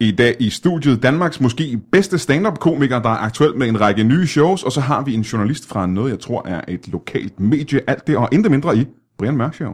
I dag i studiet Danmarks måske bedste stand-up-komiker, der er aktuelt med en række nye shows, og så har vi en journalist fra noget, jeg tror er et lokalt medie, alt det og intet mindre i Brian Mørk Show.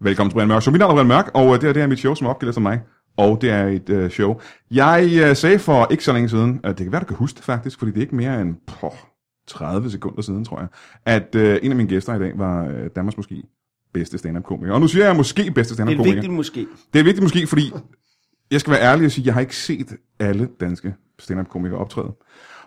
Velkommen til Brian Mørk Show. Mit navn er Brian Mørk, og øh, det her det er mit show, som er opkaldt efter mig. Og det er et øh, show. Jeg øh, sagde for ikke så længe siden, øh, det kan være, du kan huske det faktisk, fordi det er ikke mere end poh, 30 sekunder siden, tror jeg, at øh, en af mine gæster i dag var øh, Danmarks måske bedste stand-up-komiker. Og nu siger jeg måske bedste Det er stand-up-komiker. vigtigt måske. Det er vigtigt måske, fordi jeg skal være ærlig og sige, at jeg har ikke set alle danske stand-up-komikere optræde.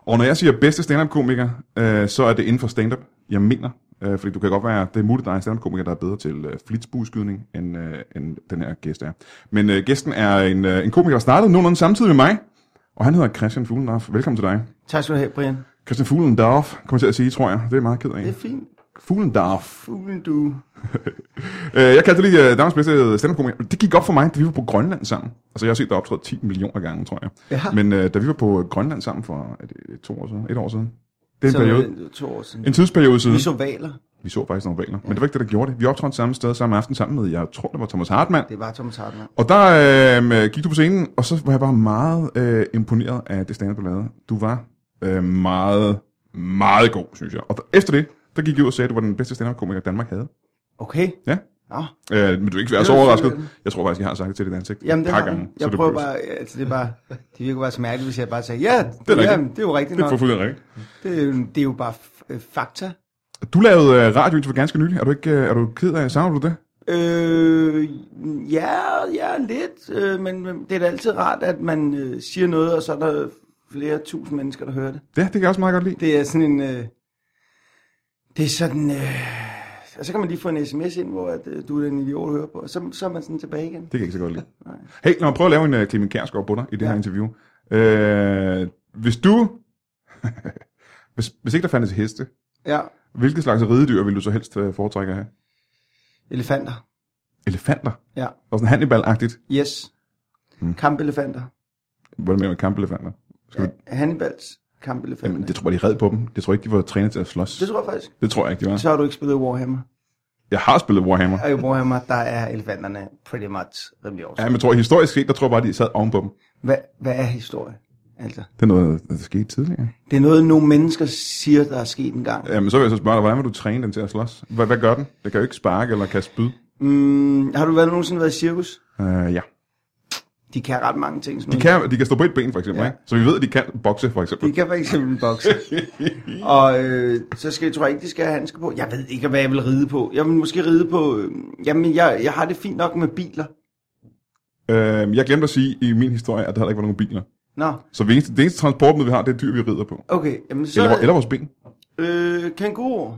Og når jeg siger bedste stand-up-komiker, øh, så er det inden for stand-up, jeg mener. Øh, fordi du kan godt være, det er muligt, at der er en stand-up-komiker, der er bedre til øh, flitsbueskydning, end, øh, end den her gæst er. Men øh, gæsten er en, øh, en komiker, der startede nogenlunde samtidig med mig. Og han hedder Christian Fuglendorf. Velkommen til dig. Tak skal du have, Brian. Christian Fuglendorf, kommer jeg til at sige, tror jeg. Det er jeg meget ked Det af. er fint. Fuglendorf. Fuglen, du. Øh, jeg kaldte lige øh, Danmarks bedste stand up Det gik op for mig, da vi var på Grønland sammen. Altså, jeg har set dig optræde 10 millioner gange, tror jeg. Ja. Men øh, da vi var på Grønland sammen for er det, to år siden, et år siden. Det er en, Som periode, øh, to år siden. en tidsperiode siden. Vi Vi så, så valer. vi så faktisk nogle valer. Men det var ikke det, der gjorde det. Vi optrådte samme sted samme aften sammen med, jeg tror, det var Thomas Hartmann. Det var Thomas Hartmann. Og der øh, gik du på scenen, og så var jeg bare meget øh, imponeret af det stand du lavede. Du var øh, meget, meget god, synes jeg. Og efter det, der gik jeg ud og sagde, at du var den bedste stand-up-komiker, Danmark havde. Okay. Ja. Nå. Øh, men du er ikke være Det så var overrasket. selvfølgelig. Jeg tror faktisk, jeg har sagt det til dit ansigt Jamen, et det par har gange. gange, Jeg så prøver det, bare, altså det er bare, det virker bare så mærkeligt, hvis jeg bare sagde, ja, det rigtigt. er, jamen, det er jo rigtigt Det er nok. fuldstændig rigtigt. Det, er jo- det er jo bare f- øh, fakta. Du lavede øh, radiointerview ganske nylig. Er du ikke øh, er du ked af, savner du det? Øh, ja, ja, lidt, øh, men men det er da altid rart, at man øh, siger noget, og så er der flere tusind mennesker, der hører det. Ja, det kan jeg også meget godt lide. Det er sådan en... Øh, det er sådan... Øh, og så kan man lige få en sms ind, hvor at, øh, du er en idiot at høre på. Og så, så er man sådan tilbage igen. Det kan jeg ikke så godt lide. Nej. Hey, lad mig prøve at lave en øh, Clemen Kjærsgaard på dig i det ja. her Ja. interview. Øh, hvis du... hvis, hvis ikke der fandtes heste, Ja, hvilke slags ridedyr vil du så helst øh, foretrække at have? elefanter. Elefanter? Ja, Og sådan Hannibal-agtigt. yes. Mm. Kampelefanter. Hvad er det med kampelefanter? Skal vi... Hannibals kampelefanter. Jamen, Jamen, det det... tror jeg, de red på dem. Det tror jeg ikke, de var trænet til at slås. det tror Altså- jeg faktisk. Det tror jeg ikke, de var. Så har du ikke spillet Warhammer. Jeg har spillet Warhammer. Og i Warhammer, der er elefanterne pretty much rimelig Ja, også. men jeg tror, historisk set, der tror jeg bare, de sad ovenpå dem. Hvad, hvad er historie? Altså, Det er noget, der skete tidligere. det er noget, nogle mennesker siger, der er sket en gang. Jamen, så vil jeg så spørge dig, hvordan vil du træne den til at slås? Hvad, hvad gør den? Det kan jo ikke sparke eller kaste spyd. Mm, har du været nogensinde været i cirkus? Uh, ja. De kan ret mange ting. Sådan De noget. kan, de kan stå på et ben, for eksempel. Ja. Ja. Ikke? Så vi ved, at de kan bokse, for De eksempel. kan for eksempel bokse. og øh, så skal, tror jeg ikke, de skal have handsker på. Jeg ved ikke, hvad jeg vil ride på. Jeg vil måske ride på... Øh, jamen, jeg, jeg har det fint nok med biler. Uh, jeg glemte at sige i min historie, at der heller ikke var nogen biler. Nå, Så det eneste, det eneste transportmiddel, vi har, det er dyr, vi rider på. okay. Jamen, så... Eller, eller vores ben. Øh, kænguruer.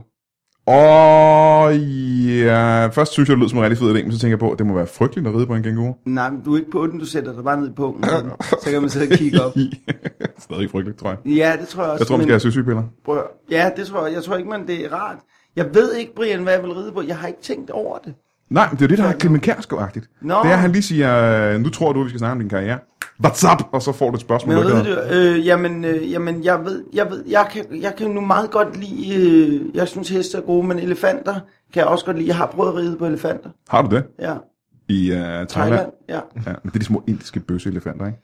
Og ja, først synes jeg, det lød som en rigtig fed idé, men så tænker jeg på, at det må være frygteligt at ride på en kænguru. Nej, men du er ikke på den, du sætter dig bare ned på den. Så, så kan man sidde og kigge op. Stadig frygteligt, tror jeg. Ja, det tror jeg også. Jeg tror, man men- skal have søsygepiller. Prøv at høre. Ja, det tror jeg. Jeg tror ikke, man det er rart. Jeg ved ikke, Brian, hvad jeg vil ride på. Jeg har ikke tænkt over det. Nej, men det er jo det, der er Clemen Kjærsgaard-agtigt. Nå. Det er, at han lige siger, øh, nu tror du, vi skal snakke om din karriere. What's up? Og så får du et spørgsmål. Men der hedder- ridedyr, øh, jamen, øh, jamen, jeg ved, jeg ved, jeg kan, jeg kan nu meget godt lide, øh, jeg synes heste er gode, men elefanter kan jeg også godt lide. Jeg har prøvet at ride på elefanter, Har du det? ja. I uh, Thailand? Thailand, ja. Ja, men det er de små indiske bøsseelefanter, ikke?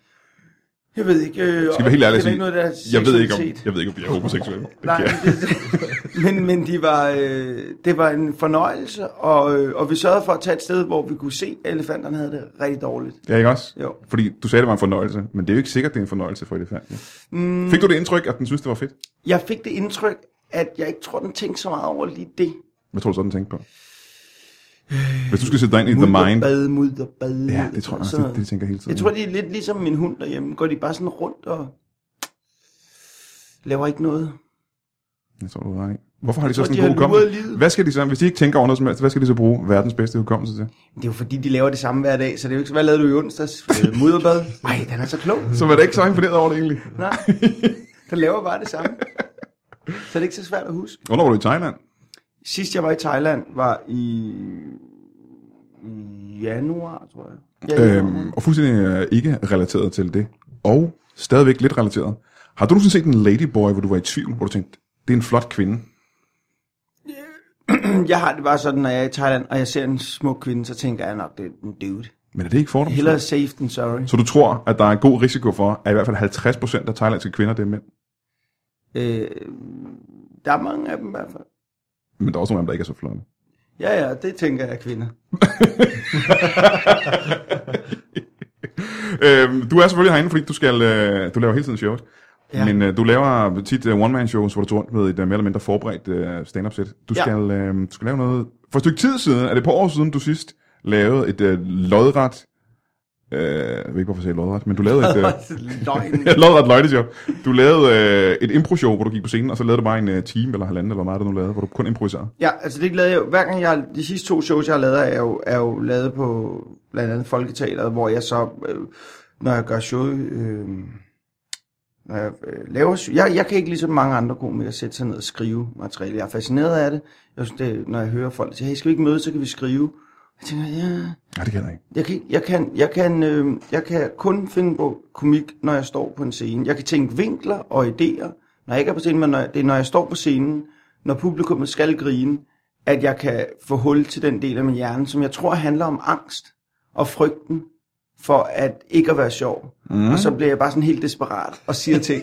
Jeg ved ikke, øh, Skal vi være helt ærlige det er sige, ikke noget, der er jeg ved ikke, om, seksualitet. jeg ved ikke, om de er homoseksuelle. Det Nej, kan jeg- men det, men, men de var, øh, det var en fornøjelse, og, øh, og vi sørgede for at tage et sted, hvor vi kunne se, at elefanterne havde det rigtig dårligt. Ja, ikke også? Jo. Fordi du sagde, det var en fornøjelse, men det er jo ikke sikkert, det er en fornøjelse for elefanten. Mm. Fik du det indtryk, at den synes, det var fedt? Jeg fik det indtryk, at jeg ikke tror, den tænkte så meget over lige det. Hvad tror du så, den tænkte på? Hvis du skal sætte dig ind i The Mind. Bade, mudder, bade, Ja, det tror jeg også, det, det de tænker hele tiden. Jeg tror, det er lidt ligesom min hund derhjemme. Går de bare sådan rundt og laver ikke noget? Jeg tror, du har ret i. Hvorfor har de så tror, sådan de en god har hukommelse? luret livet. Hvad skal de så, hvis de ikke tænker over noget som helst, hvad skal de så bruge verdens bedste hukommelse til? Det er jo fordi, de laver det samme hver dag, så det er jo ikke så, hvad lavede du i onsdags? Øh, Mudderbad? Ej, den er så klog. Så var det ikke så imponeret over det egentlig. Nej, den laver bare det samme. Så det er ikke så svært at huske. Hvornår var du i Thailand? Sidst jeg var i Thailand var i i januar, tror jeg. Ja, Øhm, og fuldstændig øh, ikke relateret til det. Og stadigvæk lidt relateret. Har du nogensinde set en ladyboy, hvor du var i tvivl, hvor du tænkte, det er en flot kvinde? januar. Jeg har det bare sådan, når jeg er i Thailand, og jeg ser en smuk kvinde, så tænker jeg nok, det er en dude. Men er det ikke fordom? Hellere safe than sorry. Så du tror, at der er en god risiko for, at i hvert fald 50% af thailandske kvinder det er mænd? Øh, der er mange af dem i hvert fald. Men der er også nogle af dem, der ikke er så flotte. Ja, ja, det tænker jeg er kvinder. Øhm, du er selvfølgelig herinde, fordi du, skal, øh, du laver hele tiden shows. Ja. Ja. Men øh, du laver tit øh, one-man-shows, hvor du tager rundt med et øh, mere eller mindre forberedt øh, stand-up-sæt. Du, Ja. skal, øh, du skal lave noget... For et stykke tid siden, er det et par år siden, du sidst lavede et øh, lodret... Øh, jeg ved ikke, hvorfor jeg sagde lodret, men du lavede et... Øh, Løgn. lodret løgteshow. Du lavede øh, et impro-show, hvor du gik på scenen, og så lavede du bare en øh, time eller halvanden, eller hvor meget du nu lavede, hvor du kun improviserede. Ja, altså det lavede jeg jo, hver gang jeg, de sidste to shows, jeg har lavet, er jo, er jo lavet på blandt andet Folketeateret, hvor jeg så, øh, når jeg gør show, øh, når jeg øh, laver, show- jeg, jeg kan ikke ligesom mange andre komikere sætte sig ned og skrive materiale. Jeg er fascineret af det. Jeg synes, det, når jeg hører folk sige, hey, skal vi ikke mødes, så kan vi skrive. Jeg tænker, ja, Nej, det kan jeg ikke. jeg kan, jeg kan, jeg kan, øh, jeg kan kun finde på komik, når jeg står på en scene. Jeg kan tænke vinkler og idéer, når jeg ikke er på scenen, men når jeg, det er, når jeg står på scenen, når publikummet skal grine, at jeg kan få hul til den del af min hjerne, som jeg tror handler om angst og frygten for at ikke at være sjov. Mm. Og så bliver jeg bare sådan helt desperat og siger ting.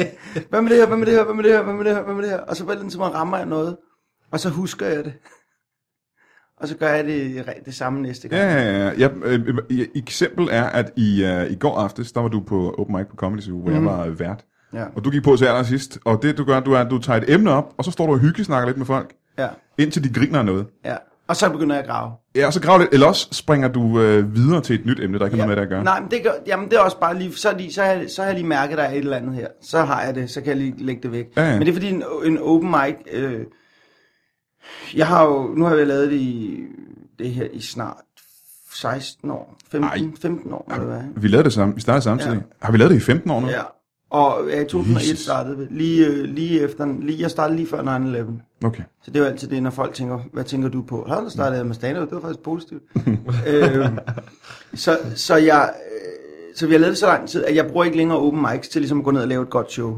Hvad med det her? Hvad med det her? Hvad med det her? Hvad med det her? Hvad med det her? Og så bare som man rammer jeg noget, og så husker jeg det. Og så gør jeg det, det samme næste gang. Ja, ja, ja. ja øh, øh, eksempel er, at i, øh, i går aftes, der var du på Open Mic på Comedy Zoo, hvor Mhm. mm. jeg var vært. Ja. Og du gik på til allersidst, og det du gør, du er, at du tager et emne op, og så står du og hyggesnakker lidt med folk, ja. indtil de griner af noget. Ja, og så begynder jeg at grave. Ja, og så grav lidt, eller også springer du øh, videre til et nyt emne, der ikke har Ja. noget med det at gøre. Nej, men det, gør, jamen det er også bare lige, så, er de, så, har, jeg- så har jeg lige mærket, der er et eller andet her. Så har jeg det, så kan jeg lige lægge det væk. Ja, ja. Men det er fordi en, en open mic, øh, jeg har jo, nu har jeg lavet det i, det her i snart 16 år, 15, Ej. 15 år, eller hvad? ikke? Vi lavede det sammen, vi startede samtidig. Ja. Ja. Har vi lavet det i 15 år nu? Ja. Og ja, i 2001 Jesus. startede vi, lige, øh, lige efter, lige, jeg startede lige før 9-11. Okay. Så det er jo altid det, når folk tænker, hvad tænker du på? Hold da startede jeg med stand-up, det var faktisk positivt. øh, så, så, jeg, øh, så vi har lavet det så lang tid, at jeg bruger ikke længere open mics til ligesom at gå ned og lave et godt show.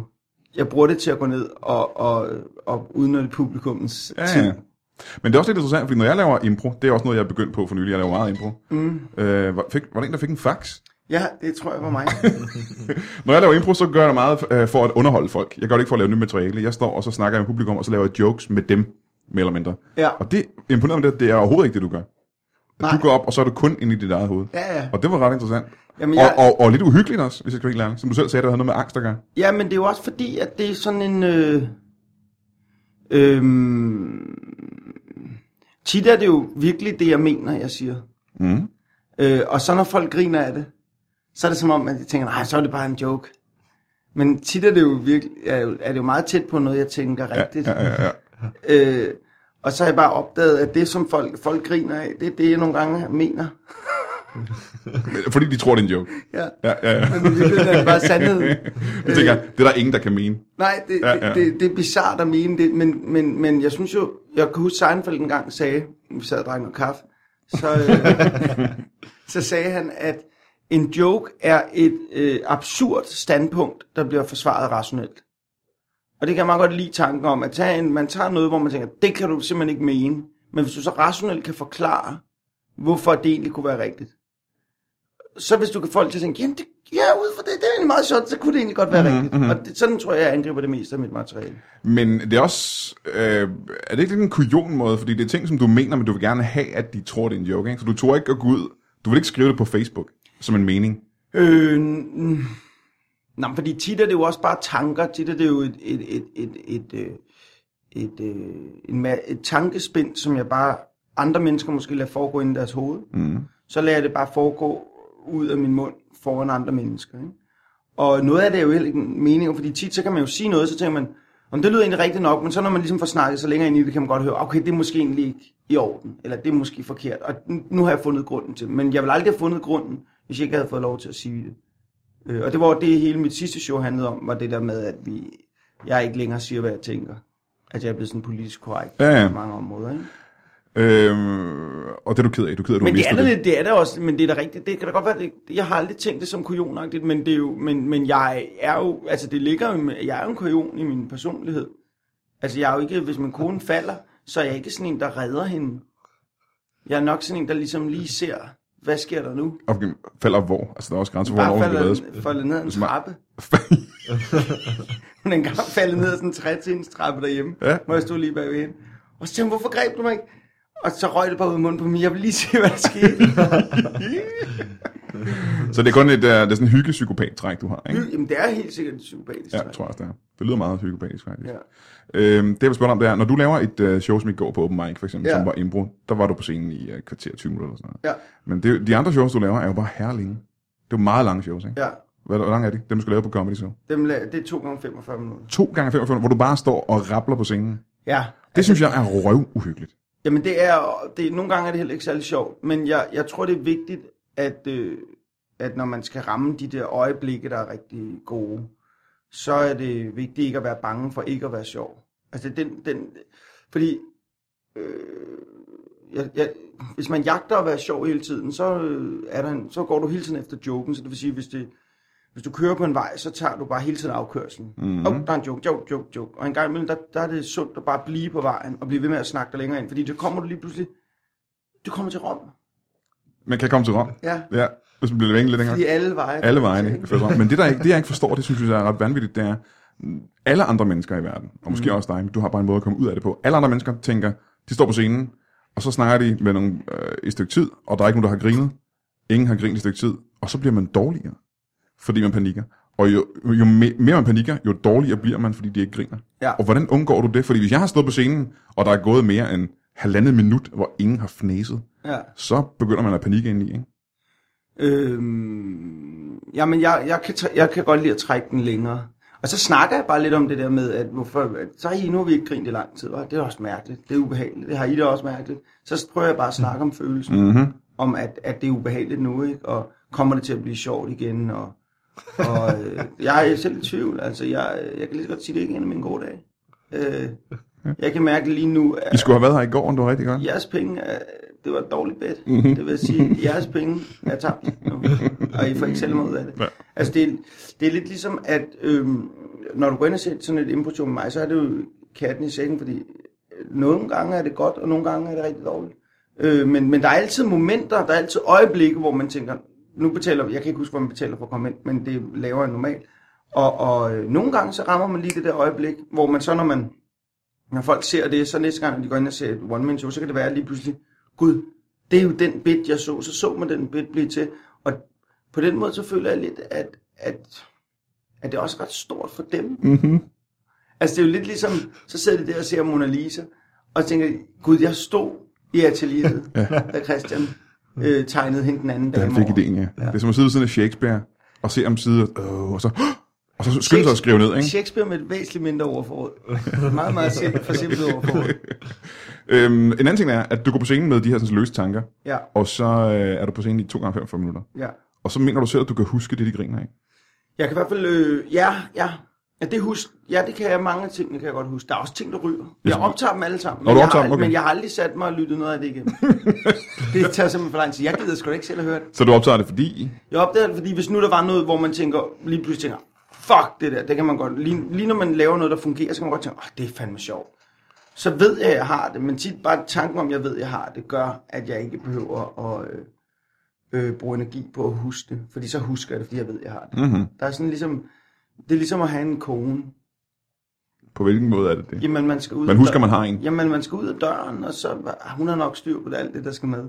Jeg bruger det til at gå ned og, og, og udnytte publikummens Ja, tid. ja. Men det er også lidt interessant, fordi når jeg laver impro, det er også noget, jeg er begyndt på for nylig. Jeg laver meget impro. Mm. Øh, var, fik, var der en, der fik en fax? Ja, det tror jeg var mig. Når jeg laver impro, så gør jeg det meget øh, for at underholde folk. Jeg gør det ikke for at lave nyt materiale. Jeg står og så snakker jeg med publikum, og så laver jeg jokes med dem, mere eller mindre. Ja. Og det imponerer mig, det, at det er overhovedet ikke det, du gør. Nej. Nej. Du går op, og så er du kun inde i dit eget hoved. Ja, ja. Og det var ret interessant. Jamen, jeg- og, og, og, lidt uhyggeligt også, hvis jeg skal være helt ærlig. Som du selv sagde, der havde noget med angst at gøre. Ja, men det er jo også fordi, at det er sådan en... Øh, øhm, tit er det jo virkelig det, jeg mener, jeg siger. Mm. Øh, og så når folk griner af det, så er det som om, at de tænker, nej, så er det bare en joke. Men tit er det jo virkelig, er, jo- er det jo meget tæt på noget, jeg tænker rigtigt. Ja, ja, ja. Øh, og så har jeg bare opdaget, at det, som folk, folk griner af, det er det, jeg nogle gange mener. Men- Øh, Fordi de tror, det er en joke. Ja. Ja, ja, ja. Men i virkeligheden er det bare sandheden. Du tænker, jeg, det er der ingen, der kan mene. Nej, det, Ja, ja, ja. ja. det, det er bizart at mene det, men, men, men jeg synes jo, jeg kan huske Seinfeld en gang sagde, vi sad og drak noget kaffe, så, øh, så sagde han, at en joke er et øh, absurd standpunkt, der bliver forsvaret rationelt. Og det kan jeg meget godt lide tanken om, at tage en, man tager noget, hvor man tænker, det kan du simpelthen ikke mene, men hvis du så rationelt kan forklare, hvorfor det egentlig kunne være rigtigt, så hvis du kan få folk til at tænke, jamen det, ja, ud fra det, det er egentlig meget sjovt, så kunne det egentlig godt være mm-hmm. rigtigt. Og det, sådan tror jeg, jeg angriber det meste af mit materiale. Men det er også, øh, er det ikke lidt en kujon måde, fordi det er ting, som du mener, men du vil gerne have, at de tror, det er en joke, ikke? Så du tror ikke at gå ud, du vil ikke skrive det på Facebook som en mening. Øh, mm, nej, fordi tit er det jo også bare tanker, tit er det jo et, et, et, et, et, øh, et, øh, en ma- et tankespind, som jeg bare, andre mennesker måske lader foregå inde i deres hoved. Mm. Så lader jeg det bare foregå ud af min mund foran andre mennesker. Ikke? Og noget af det er jo heller ikke meninger, fordi tit så kan man jo sige noget, så tænker man, Om det lyder egentlig rigtigt nok, men så når man ligesom får snakket så længere ind i det, kan man godt høre, okay, det er måske egentlig ikke i orden, eller det er måske forkert, og n- nu har jeg fundet grunden til det. Men jeg ville aldrig have fundet grunden, hvis jeg ikke havde fået lov til at sige det. Øh, og det var det, hele mit sidste show handlede om, var det der med, at vi, jeg ikke længere siger, hvad jeg tænker. At jeg er blevet sådan politisk korrekt Ja, ja. på mange områder, ikke? Øhm, og det er du ked af. Du er ked af, du Men har det er, mistet da det. lidt, det er da også, men det er da rigtigt. Det kan da godt være, det, jeg har aldrig tænkt det som kujonagtigt, men, det er jo, men, men jeg er jo, altså det ligger jo, med- jeg er jo en kujon i min personlighed. Altså jeg er jo ikke, hvis min kone falder, så er jeg ikke sådan en, der redder hende. Jeg er nok sådan en, der ligesom lige ser, hvad sker der nu? Og falder hvor? Altså, der er også grænser for, Bare hvornår hun kan reddes. falder, falder ned ad en Hvis man- trappe. Hun er engang faldet ned ad sådan en trætins trappe derhjemme, Ja. ja. hvor jeg stod lige bagved hende. Og så tænkte hun, hvorfor greb du mig ikke? Og så røg det bare ud af munden på mig. Jeg vil lige se, hvad der skete. så det er kun et, uh, det er sådan en hyggepsykopat-træk, du har, ikke? Hy- Jamen, det er helt sikkert en psykopatisk Ja, træk. jeg tror også, det er. Det lyder meget psykopatisk, faktisk. Ja. Øhm, det, jeg vil spørge dig om, det er, når du laver et øh, show, som i går på Open Mic, for eksempel, ja. Ja. som var Imbro, der var du på scenen i øh, kvarter 20 minutter eller sådan noget. Ja. Men det, er jo- de andre shows, du laver, er jo bare herlinge. Det er jo meget lange shows, ikke? Ja, Hvor, hvor lange er det? Dem, du skal lave på Comedy Show. dem la- det er 2 gange 45 minutter. To gange 45, hvor du bare står og rappler på scenen. Det Ja. synes jeg er røvuhyggeligt. Jamen, det er, det, nogle gange er det heller ikke særlig sjovt, men jeg, jeg tror, det er vigtigt, at, øh, at når man skal ramme de der øjeblikke, der er rigtig gode, så er det vigtigt ikke at være bange for ikke at være sjov. Altså, den, den, fordi øh, jeg, jeg, hvis man jagter at være sjov hele tiden, så, øh, er der en, så går du hele tiden efter joken, så det vil sige, hvis det, hvis du kører på en vej, så tager du bare hele tiden afkørselen. Mhm. Mm-hmm. Oh, der er en joke, joke, joke, joke. Og en gang imellem, der, der er det sundt at bare blive på vejen og blive ved med at snakke dig længere ind. Fordi det kommer du lige pludselig... Du kommer til Rom. Man kan komme til Rom. Ja. Ja, hvis man bliver væk lidt længere. Fordi alle veje... Alle vejene fører til Rom. Men det, der ikke, det, jeg ikke forstår, det synes jeg er ret vanvittigt, det er, mm, alle andre mennesker i verden, og måske mm. også dig, men du har bare en måde at komme ud af det på. Alle andre mennesker tænker, de står på scenen, og så snakker de med nogle øh, et stykke tid, og der er ikke nogen, der har grinet. Ingen har grinet et stykke tid, og så bliver man dårligere, fordi man panikker. Og jo, jo me- mere man panikker, jo dårligere bliver man, fordi de ikke griner. Ja. Og hvordan undgår du det? Fordi hvis jeg har stået på scenen, og der er gået mere end halvandet minut, hvor ingen har fnæset, Ja. så begynder man at panikke indeni, ikke? Øhm, jamen, jeg, jeg, kan, træ- jeg kan godt lide at trække den længere. Og så snakker jeg bare lidt om det der med, at hvorfor, at så har I, nu har vi ikke grint i lang tid, hva'? det er også mærkeligt, det er ubehageligt, det har I da også mærkeligt. Så prøver jeg bare at snakke om følelsen, Mm-hmm. om at, at det er ubehageligt nu, ikke? og kommer det til at blive sjovt igen, og, og øh, jeg er selv i tvivl, altså jeg, jeg kan lige så godt sige, det er ikke en af mine gode dage. Øh, jeg kan mærke lige nu, at, I skulle have været her i går, om det var rigtig godt. jeres penge, er, det var et dårligt bet. Mm-hmm. Det vil sige, jeres penge er tabt nu, og I får ikke selv mig ud af det. Ja. Altså, det er, det er lidt ligesom, at øhm, når du går ind og ser sådan et impression med mig, så er det jo katten i sækken, fordi øh, nogle gange er det godt, og nogle gange er det rigtig dårligt. Øh, men, men der er altid momenter, der er altid øjeblikke, hvor man tænker, nu betaler jeg kan ikke huske, hvor man betaler for at komme ind, men det er lavere end normalt. Og, og øh, nogle gange så rammer man lige det der øjeblik, hvor man så, når man når folk ser det, så næste gang, de går ind og ser et one-man show, så kan det være at lige pludselig, gud, det er jo den bit, jeg så, så så man den bit blive til. Og på den måde, så føler jeg lidt, at, at, at det er også ret stort for dem. Mm-hmm. Altså det er jo lidt ligesom, så sidder de der og ser Mona Lisa, og tænker, gud, jeg stod i atelieret, da Christian øh, tegnede hende den anden dag. Han fik ideen, ja. ja. Det er som at sidde ved siden af Shakespeare og se om side, øh, og så, og så skynde sig at skrive ned, ikke? Shakespeare med et væsentligt mindre ordforråd. Meget, meget simpelt, for simpelt ordforråd. Øhm, en anden ting er, at du går på scenen med de her sådan, løse tanker, Ja, og så øh, er du på scenen i 2 gange 45 minutter. ja. Og så mener du selv, at du kan huske det, de griner af. Jeg kan i hvert fald, øh, ja, ja. Ja det, hus, ja, det kan jeg. Mange ting det kan jeg godt huske. Der er også ting, der ryger. Jeg optager dem alle sammen. Nå, du men, jeg optager har, dem, okay. men jeg har aldrig sat mig og lyttet noget af det igennem. det tager simpelthen for lang tid. Jeg gider sgu da ikke selv at høre det. Så du optager det, fordi... Jeg opdagede det, fordi hvis nu der var noget, hvor man tænker, lige pludselig tænker, fuck det der, det kan man godt. Lige, lige når man laver noget, der fungerer, så kan man godt tænke, åh, det er fandme sjovt. Så ved jeg, at jeg har det, men tit bare tanken om, at jeg ved, at jeg har det, gør, at jeg ikke behøver at øh, øh, bruge energi på at huske det. Fordi så husker jeg det, fordi jeg ved, at jeg har det. Mm-hmm. Der er sådan ligesom, det er ligesom at have en kone. På hvilken måde er det det? Jamen, man skal ud Man af husker, døren. man har en. Jamen, man skal ud af døren, og så ah, hun har nok styr på det, alt det, der skal med.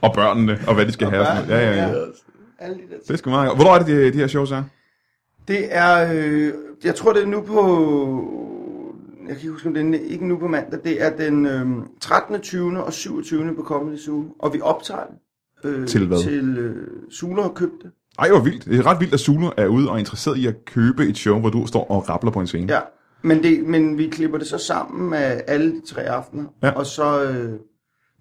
Og børnene, og hvad de skal Og have. og sådan noget. Ja, ja, ja. Alle de der ting. Det er sgu meget godt. Hvornår er det, de, de her shows er? Det er, øh, jeg tror, det er nu på, jeg kan ikke huske, om det er ikke nu på mandag, det er den øh, 13. 20. og 27. på Comedy Zoo, og vi optager det. Øh, Til hvad? Til øh, Sula har købt det. Ej, hvor vildt. Det er ret vildt, at Zulu er ude og er interesseret i at købe et show, hvor du står og rappler på en scene. Ja, men, det, men vi klipper det så sammen med alle de tre aftener. Ja. Ja. Og så... Øh,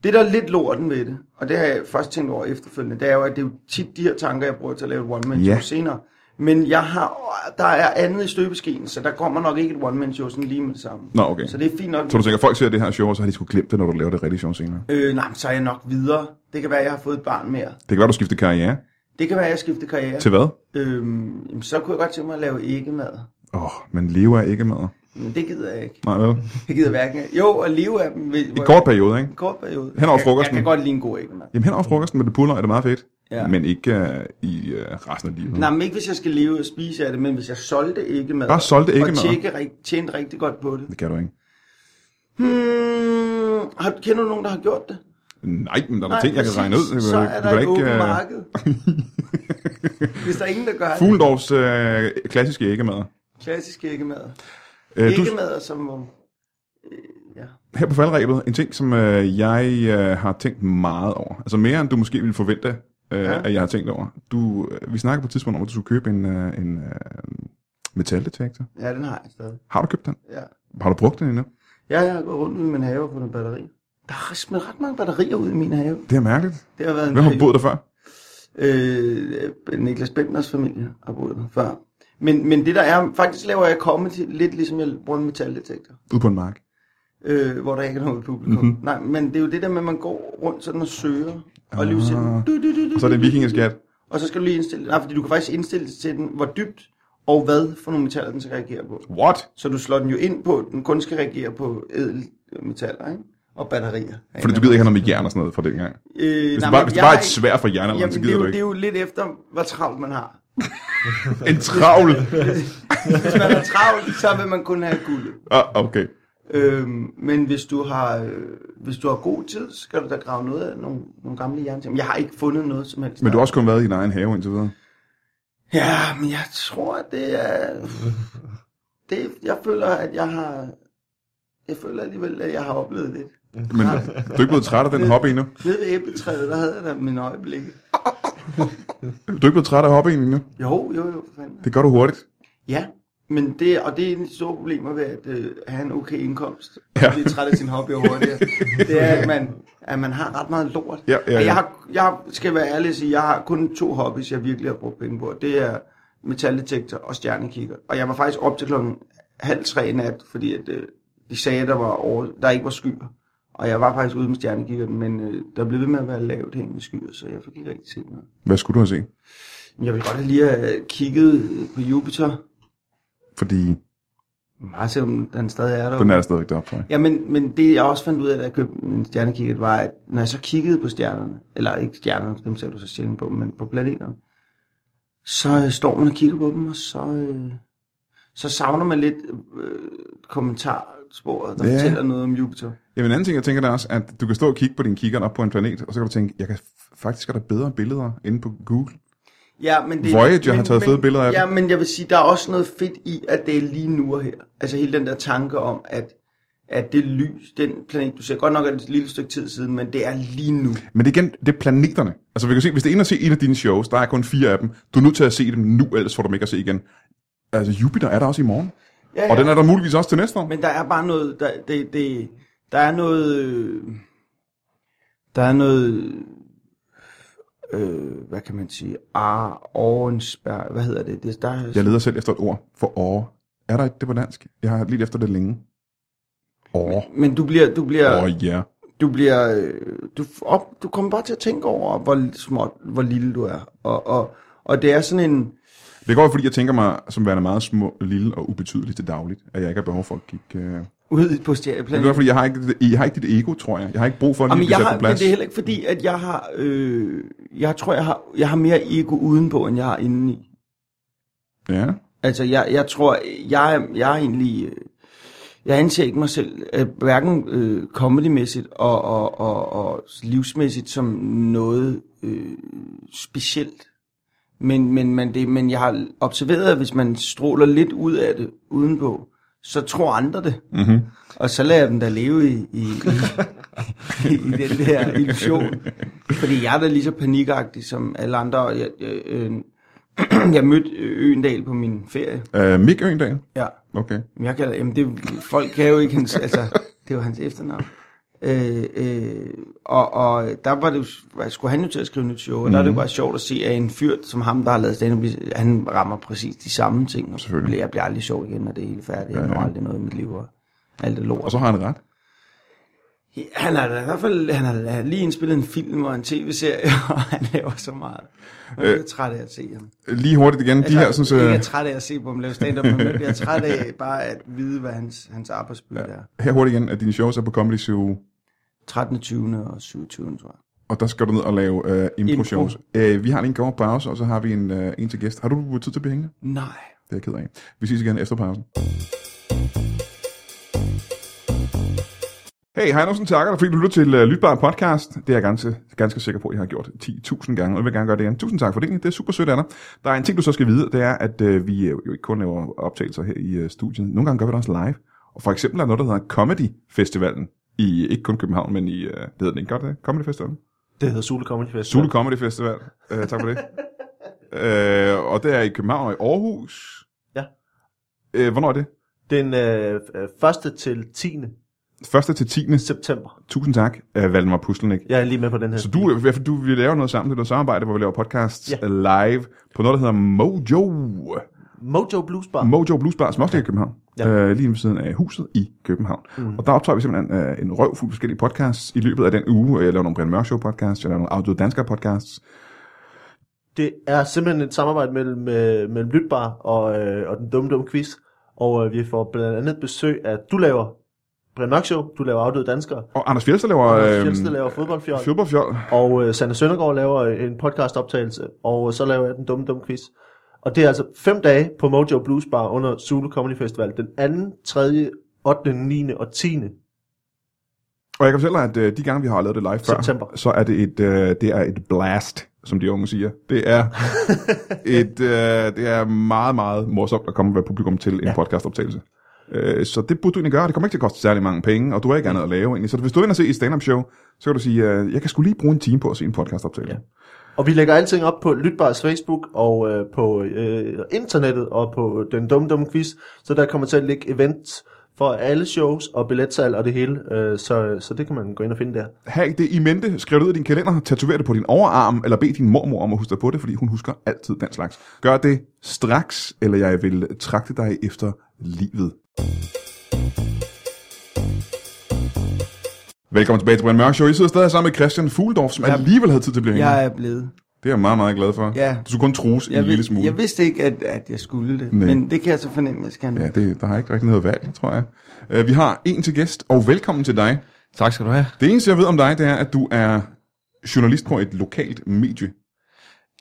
det, der er lidt lorten ved det, og det har jeg først tænkt over efterfølgende, det er jo, at det er jo tit de her tanker, jeg bruger til at lave et one-man-show Ja. ja. senere. Men jeg har, der er andet i støbeskeen, så der kommer nok ikke et one-man-show sådan lige med det samme. Nå, okay. Så det er fint nok. Så du tænker, at folk ser det her show, og så har de sgu glemt det, når du laver det rigtige show senere. Øh, nej, men så er jeg nok videre. Det kan være, at jeg har fået et barn mere. Det kan være, du skifter karriere. Det kan være, at jeg skifter karriere. Til hvad? Øhm, jamen, så kunne jeg godt tænke mig at lave æggemad. Åh, oh, men lever er ikke mad. Men det gider jeg ikke. Nej, vel? Jeg gider hverken. Jo, at leve af dem. Ved, I kort periode, ikke? En kort periode. Hen over Jeg- frokosten. Jeg kan godt lide en god æggemad. Jamen hen over frokosten med det puller er det meget fedt. Ja. Mm. Ja. Men ikke øh, i øh, resten af livet. Nej, men ikke hvis jeg skal leve og spise af det, men hvis jeg solgte æggemad. Bare solgte æggemad? Og tjekke, rig- tjente rigtig godt på det. Det kan du ikke. Hmm, har, kender du nogen, der har gjort det? Nej, men der er da ting, jeg kan præcis. regne ud. Jeg, Så er du kan der et da åbent øh, marked. Hvis der er ingen, der gør det. Fuglendorfs øh, klassiske æggemad. Klassisk æggemad. Øh, du, Æggemad som... hvor- Øh, ja. her på faldrebet, en ting, som øh, jeg øh, har tænkt meget over. Altså mere, end du måske ville forvente, øh, ja. Ja. at jeg har tænkt over. Du, øh, vi snakkede på et tidspunkt om, at du skulle købe en, øh, en øh, metaldetektor. ja, den har jeg stadig. Har du købt den? Ja. Har du brugt den endnu? Ja, jeg har gået rundt ude i min have på nogle batterier. Der er smidt ret mange batterier ud i min have. Det er mærkeligt. Det har været en Hvem har periode- boet der før? Øh, Niklas Bentners familie har boet der før. Men, men det der er, faktisk laver jeg comedy lidt ligesom jeg bruger en metaldetektor, Ude på en mark. øh, hvor der ikke er noget publikum. Mhm. Mm-hmm. Nej, men det er jo det der med, at man går rundt sådan og søger, og lige sådan, du, du, du, du, Ah. Og så er det en vikingeskat. og så skal du lige indstille, nej, fordi du kan faktisk indstille det til den, hvor dybt og hvad for nogle metaller, den skal reagere på. What? Så du slår den jo ind på, at den kun skal reagere på edelmetaller, ikke? Og batterier. Fordi du gider ikke have noget med jern og sådan noget fra dengang. Øh, Hvis nej, det bare, men hvis jeg det bare har er et ikke- svær for jern, Jamen, så det er, gider jo, du det er ikke. jo lidt efter, hvor travlt man har. En travl. Hvis man har travlt, så vil man kun have guld. Ah, okay. Øhm, men hvis du, har, øh, hvis du har god tid, så skal du da grave noget af nogle, nogle gamle jernting. Jeg har ikke fundet noget som helst. Men du har også kun været i din egen have indtil videre. Ja, men jeg tror, at det er... Det, jeg føler, at jeg har... Jeg føler alligevel, at jeg har oplevet lidt. Men du er ikke blevet træt af den hobby endnu? Nede ved æbletræet, der havde jeg da min øjeblik. Du er ikke blevet træt af hobbyen endnu? Jo, jo, jo, for fanden. Det gør du hurtigt. Ja, men det, og det er en af de store problemer ved at øh, have en okay indkomst. Ja. Ja. Blive træt af sin hobby og hurtigere. Det er, at man, at man har ret meget lort. Ja, ja, Og ja. Jeg, har, jeg skal være ærlig og sige, jeg har kun to hobbies, jeg virkelig har brugt penge på. Det er metaldetektor og stjernekikker. Og jeg var faktisk op til klokken halv tre i nat, fordi at, øh, de sagde, at der, var over, der ikke var skyer. Og jeg var faktisk ude med stjernekikkeren, men øh, der blev ved med at være lavt hen med skyer, så jeg fik ikke rigtig set noget. Hvad skulle du have set? Men Jeg ville godt lige have øh, kigget øh, på Jupiter, Fordi Bare selvom den stadig er der. den er der stadigvæk deroppe, tror jeg. Ja, men, men det jeg også fandt ud af, da jeg købte en stjernekikkert, var, at når jeg så kiggede på stjernerne, eller ikke stjernerne, for dem ser du så sjældent på, men på planeterne, så øh, står man og kigger på dem, og så, øh, så savner man lidt øh, kommentarsporet, der Ja. ja. fortæller noget om Jupiter. Jamen en anden ting, jeg tænker, der er også, at du kan stå og kigge på din kigger op på en planet, og så kan du tænke, jeg kan f- faktisk er der bedre billeder inde på Google. Ja, men det, Voyager har taget fede billeder af ja, det. men jeg vil sige, der er også noget fedt i, at det er lige nu og her. Altså hele den der tanke om, at, at det lys, den planet, du ser godt nok er det et lille stykke tid siden, men det er lige nu. Men det er igen, det er planeterne. Altså vi kan se, hvis det er inde og se en af dine shows, der er kun fire af dem, du er nødt til at se dem nu, ellers får du dem ikke at se igen. Altså Jupiter er der også i morgen. Ja, Og den er der muligvis også til næste år. Men der er bare noget, der, det, det, der er noget, øh, der er noget, øh, hvad kan man sige, ar, ovensbær, hvad hedder det? det der er, Jeg leder selv efter et ord for åre. Er der et det på dansk? Jeg har lidt efter det længe. Åre. men du bliver, du bliver, Åre, ja. du bliver, øh, du, f- op, du kommer bare til at tænke over, hvor småt, hvor lille du er. Og, og, og det er sådan en, Det går fordi jeg tænker mig som værende meget små, lille og ubetydelig til dagligt, at jeg ikke har behov for at kigge... Øh... ude på Det stjerneplanen. er også, fordi, jeg har, ikke, jeg har ikke dit ego, tror jeg. Jeg har ikke brug for at lige Jamen, blive jeg sat har, på men plads. det er heller ikke fordi, at jeg har, øh, jeg tror, jeg har, jeg har mere ego udenpå, end jeg har indeni. Ja. Altså, jeg, jeg tror, jeg, er- jeg er egentlig... øh, Jeg anser ikke mig selv, øh, hverken øh, comedymæssigt og, og, og, og livsmæssigt, som noget øh, specielt. Men, men, men, det, men jeg har observeret, at hvis man stråler lidt ud af det udenpå, så tror andre det. Mm-hmm. Og så lader jeg dem da leve i, i, i, i den der illusion. Fordi jeg er da lige så panikagtig som alle andre. og Jeg, jeg, øh, jeg mødte Øendal på min ferie. Øh, Mik Øendal? Ja. Okay. Men jeg kalder, jamen det, folk kan jo ikke hans, altså, det var hans efternavn. Øh, øh, og, og der var det jo, skulle han jo til at skrive nyt show, og mm. der er det jo bare sjovt at se, at en fyr som ham, der har lavet stand han rammer præcis de samme ting, og så Selvfølgelig. bliver jeg bliver aldrig sjov igen, når det er helt færdigt, jeg Ja, når ja. aldrig noget i mit liv, og alt det lort. Og så har han ret. Han har da i hvert fald han har da lige indspillet en film og en tv-serie, og han laver så meget. Og jeg er træt af at se ham. Lige hurtigt igen. De her, Altså, sådan, så, Ikke er træt af at se på ham lave stand-up, men jeg bliver træt af bare at vide, hvad hans, hans arbejdsbyrde ja. er. her hurtigt igen, at dine shows er på Comedy Zoo, 13. 20. og 27. tror jeg. og der skal du ned og lave øh, impro-shows. Impro. Øh, vi har lige en god pause, og så har vi en, øh, en til gæst. Har du tid til at blive hængende? Nej. Det er jeg ked af. Vi ses igen efter pausen. Hey, hej Andersen, takker dig, fordi du lytter til uh, Lytbar Podcast. Det er jeg ganske, ganske sikker på, at jeg har gjort 10.000 gange, og jeg vil gerne gøre det igen. Tusind tak for det, det er super sødt af dig. Der er en ting, du så skal vide, det er, at uh, vi øh, jo ikke kun laver optagelser her i uh, studiet. Nogle gange gør vi det også live. Og for eksempel er der noget, der hedder Comedy Festivalen. I, ikke kun København, men i, uh, det hedder den ikke godt, det? Comedy Festivalen? Det hedder Sule Comedy Fest. Zulu Comedy Festival. Uh, tak for det. uh, og det er i København og i Aarhus. Ja. Uh, hvornår er det? Den øh, øh, første til 10. 1. til 10. september. Tusind tak, uh, Valdemar Puslenik. Jeg er lige med på den her. Så du, i hvert fald, du, vi laver noget sammen, det er noget samarbejde, hvor vi laver podcasts Ja. ja. live på noget, der hedder Mojo. Mojo Blues Bar. Mojo Blues Bar, som også ligger i København. Ja. Ja. Øh, lige ved siden af huset i København. Mm. Og der optager vi simpelthen øh, en røvfuld forskellige podcasts i løbet af den uge. Jeg laver nogle Brian Mørk Show podcasts, jeg laver nogle Audio Dansker podcasts. Det er simpelthen et samarbejde mellem, øh, mellem Lytbar og, øh, og den dumme, dumme quiz. Og øh, vi får blandt andet besøg af, du laver Brian Mørk Show, du laver Afdøde Danskere, Og øhm, Anders Fjeldsted laver... øh, Anders Fjeldsted laver fodboldfjold. Fodboldfjold. og øh, Sander Søndergaard laver en podcastoptagelse, og øh, så laver jeg den dumme, dumme quiz. Og det er altså fem dage på Mojo Blues Bar under Zulu Comedy Festival, den 2., 3., 8., 9. og 10. Og jeg kan fortælle dig, at øh, de gange, vi har lavet det live før, September. så er det et, øh, det er et blast, som de unge siger. Det er, et, øh, det er meget, meget morsomt at komme med publikum til en ja. podcastoptagelse. Øh, så det burde du egentlig gøre. Det kommer ikke til at koste særlig mange penge, og du har ikke andet at lave egentlig. Så hvis du vil ind og se et stand-up show, så kan du sige, øh, jeg kan skulle lige bruge en time på at se en podcastoptagelse. Ja. Og vi lægger alting op på Lytbars Facebook og øh, på øh, internettet og på den dumme, dumme quiz. Så der kommer til at ligge events for alle shows og billetsal og det hele. Øh, så, så det kan man gå ind og finde der. Hav det i mente, skriv det ud i din kalender, tatover det på din overarm, eller bed din mormor om at huske dig på det, fordi hun husker altid den slags. Gør det straks, eller jeg vil trakte dig efter livet. Velkommen tilbage til Brian Mørk Show. I sidder stadig sammen med Christian Fuglendorf, som Ja. alligevel havde tid til at blive hængende. Jeg er blevet. Det er jeg meget, meget glad for. Ja. Du skulle kun trues en Jeg, lille vid- smule. jeg vidste ikke, at, at jeg skulle det, Nej. men det kan jeg så fornemme, jeg skal. Ja, Ja. det, der har ikke rigtig noget valg, tror jeg. Uh, vi har en til gæst, og velkommen til dig. Tak skal du have. Det eneste, jeg ved om dig, det er, at du er journalist på et lokalt medie.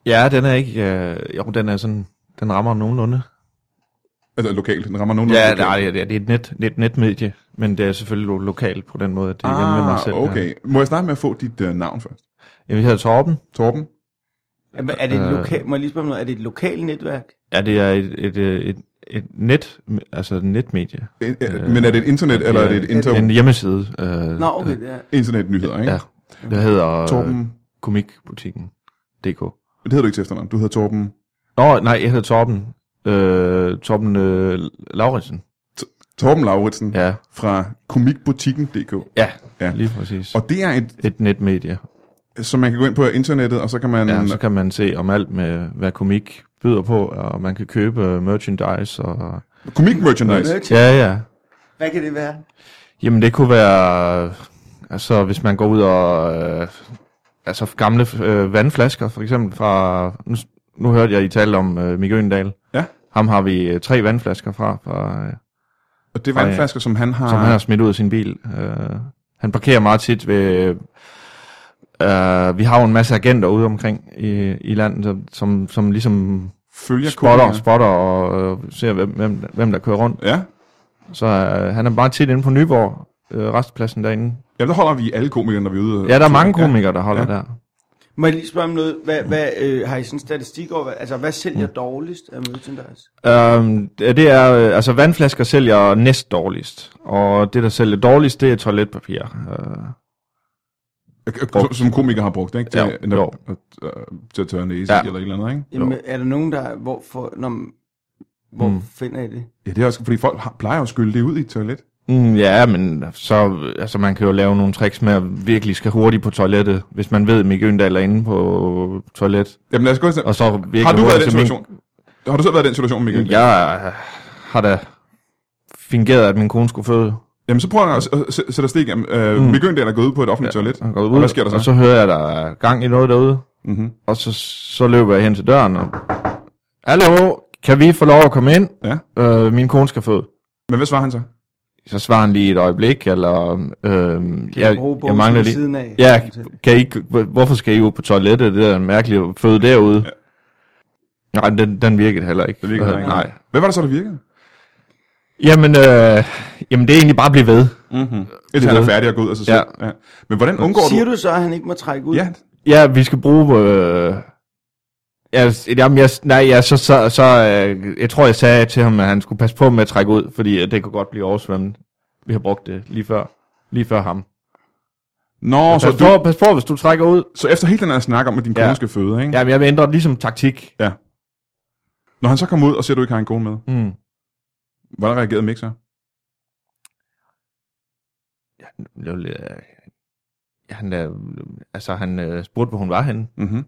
Ja, den er ikke... Øh, jo, den er sådan... Den rammer nogenlunde. Altså lokalt, den rammer nogen. Ja, nej, ja, det er det er et net, net, netmedie, men det er selvfølgelig lo- lokalt på den måde, at det er hjemme ved mig selv. okay. Må jeg starte med at få dit uh, navn først? Ja, vi hedder Torben. Torben? Er det et Øh. loka- må jeg lige spørge om noget? Er det et lokalt netværk? Ja, det er et, et, øh, et, et net, altså et netmedie. En, øh, men er det et internet, eller er det et inter- En hjemmeside. Øh, Nå, okay, det er. internetnyheder, ikke? Ja, der hedder Torben. Torben, komikbutikken.dk. det hedder du ikke til efternavn. Du hedder Torben Nå, nej, jeg hedder Torben. Øh, Torben øh, Lauritsen. Torben Lauritsen ja. Ja, fra komikbutikken.dk. ja, Ja. ja, lige præcis. Og det er et, Et netmedie, som man kan gå ind på internettet, og så kan man... Ja, så kan man se om alt med, hvad komik byder på, og man kan købe øh, merchandise. Og... Komik merchandise. Merch. Ja, ja. Hvad kan det være? Jamen det kunne være, øh, altså hvis man går ud og, øh, altså gamle øh, vandflasker for eksempel fra, nu, nu hørte jeg I tale om øh, Mikke Øgendal. Ja. Ham har vi øh, tre vandflasker fra, fra øh, Og det er vandflasker, som han har... som han har smidt ud af sin bil. Øh, han parkerer meget tit ved... Øh, vi har jo en masse agenter ude omkring i, i landet, som, som, som ligesom følger spotter, komikere. spotter og øh, ser, hvem, hvem, hvem der kører rundt. Ja. Så øh, han er bare tit inde på Nyborg, øh, restpladsen derinde. ja, der holder vi alle komikere, når vi er ude. Ja, der er mange komikere, der holder Ja. ja. der. Må jeg lige spørge om noget? Hvad, hvad øh, har I sådan en statistik over? hvad- Altså, hvad sælger Mm. dårligst af merchandise? Øhm, det er, øh, altså vandflasker sælger næst dårligst, og det, der sælger dårligst, det er toiletpapir. Øh, Som, som komiker har brugt, ikke? Til, Ja, ja, jo. at, at, at, til at tørre næse Ja. ja. eller et eller andet, ikke? Jamen, er der nogen, der... Hvor, for, når, hvor Mm. mm. finder I det? Ja, det er også, fordi folk har, plejer jo at skylle det ud i et toilet. Mm, ja, men så, altså, man kan jo lave nogle tricks med at virkelig skal hurtigt på toilettet, hvis man ved, at Mikke Øndal er inde på toilet. Jamen lad os gå i Og så virkelig Har du været i hurtigt den til min- situation? Har du selv været i den situation, Mikkel? Jeg øh, har da fingeret, at min kone skulle føde. Jamen så prøver jeg at s- at s- sætte os det igennem. Øh, mm. Mikkel er gået ud på et offentligt ja. toilet. Han går ud, og hvad sker der så? Og så hører jeg, at der er gang i noget derude. Mm-hmm. Og så, så løber jeg hen til døren og... Hallo, kan vi få lov at komme ind? Ja. Øh, min kone skal føde. Men hvad svarer han så? Så svarer han lige et øjeblik, eller... Øh, jeg, jeg mangler lige... Siden af, Ja, kan I, ikke- hvor- hvorfor skal I ud på toilettet? Det er mærkeligt at føde derude. Ja. Nej, den, den virkede heller ikke. Det virker Øh, heller ikke. Nej. Hvad var det så, der virkede? Jamen, øh, jamen, det er egentlig bare at blive ved. Mm-hmm. Indtil han er færdig og går ud af sig selv. Ja. Ja. Men hvordan undgår Siger du... du så, at han ikke må trække ud? Ja, Ja, vi skal bruge... Øh, ja, s- jamen, jeg, s- nej, ja, så, så, så øh, jeg tror, jeg sagde til ham, at han skulle passe på med at trække ud, fordi øh, det kunne godt blive oversvømmet. Vi har brugt det lige før, lige før ham. Nå, Og så, så pas, du, på, pas på, hvis du trækker ud. så efter hele den her snak om, at din kone Ja. skal føde, ikke? Jamen, jeg ændrer ligesom taktik. Når han så kommer ud og ser, at du ikke har en kone med, Mm. hvordan reagerede Mick så? Det var lidt, øh, Han, øh, altså, han øh, spurgte, hvor hun var henne, Mm-hmm.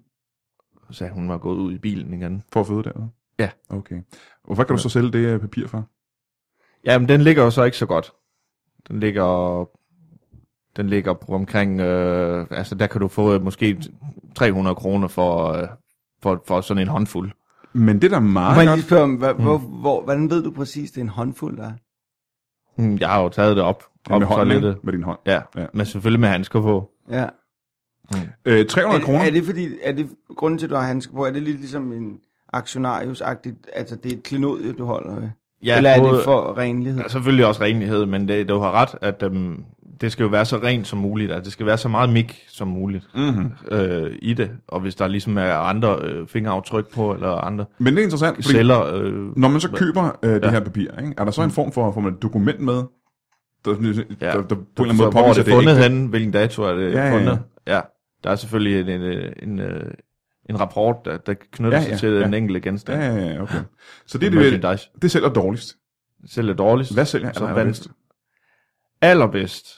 og sagde, at hun var gået ud i bilen igen. For at føde derude? Ja. Okay. Og hvad kan du så sælge det øh, papir for? Jamen, den ligger jo så ikke så godt. Den ligger, den ligger på omkring, øh, altså der kan du få øh, måske 300 kroner for, øh, for, for sådan en håndfuld. Men det der er meget Må jeg godt... lige spørge om, hvor, Mm. hvor, hvor, hvordan ved du præcis, det er en håndfuld, der er? Hmm, Jeg har jo taget det op. Ja, op med, på hånden, ikke? toilettet. med din hånd. Ja, Ja. ja, men selvfølgelig med handsker på. Ja. Øh, 300 Er, kroner? er det fordi, er det grunden til, at du har handsker på, er det lidt ligesom en aktionarius-agtigt, altså det er et klinod, du holder ved? Ja, Eller er både- det for renlighed? Der er selvfølgelig også renlighed, men det, du har ret, at øhm, det skal jo være så rent som muligt, at det skal være så meget mik som muligt Mm-hmm. øh, i det. Og hvis der ligesom er andre øh, fingeraftryk på, eller andre Men det er interessant, fordi celler... Øh, når man så køber øh, det Ja. her papir, ikke? er der så en form for, får man et dokument med, der, der, der, der på en eller anden Så måde hvor er påviser det det, ikke? fundet henne? Hvilken dato er det Ja, ja, ja. fundet? Ja, Der er selvfølgelig en, en, øh, en, øh, en rapport, der, der knytter Ja, sig ja, til ja. den enkelte genstand. Ja, ja, ja, okay. Så det, Det er er det, merchandise. det sælger dårligst. Selv er dårligst. Hvad sælger Så aller, vandt- allerbedst? Allerbedst?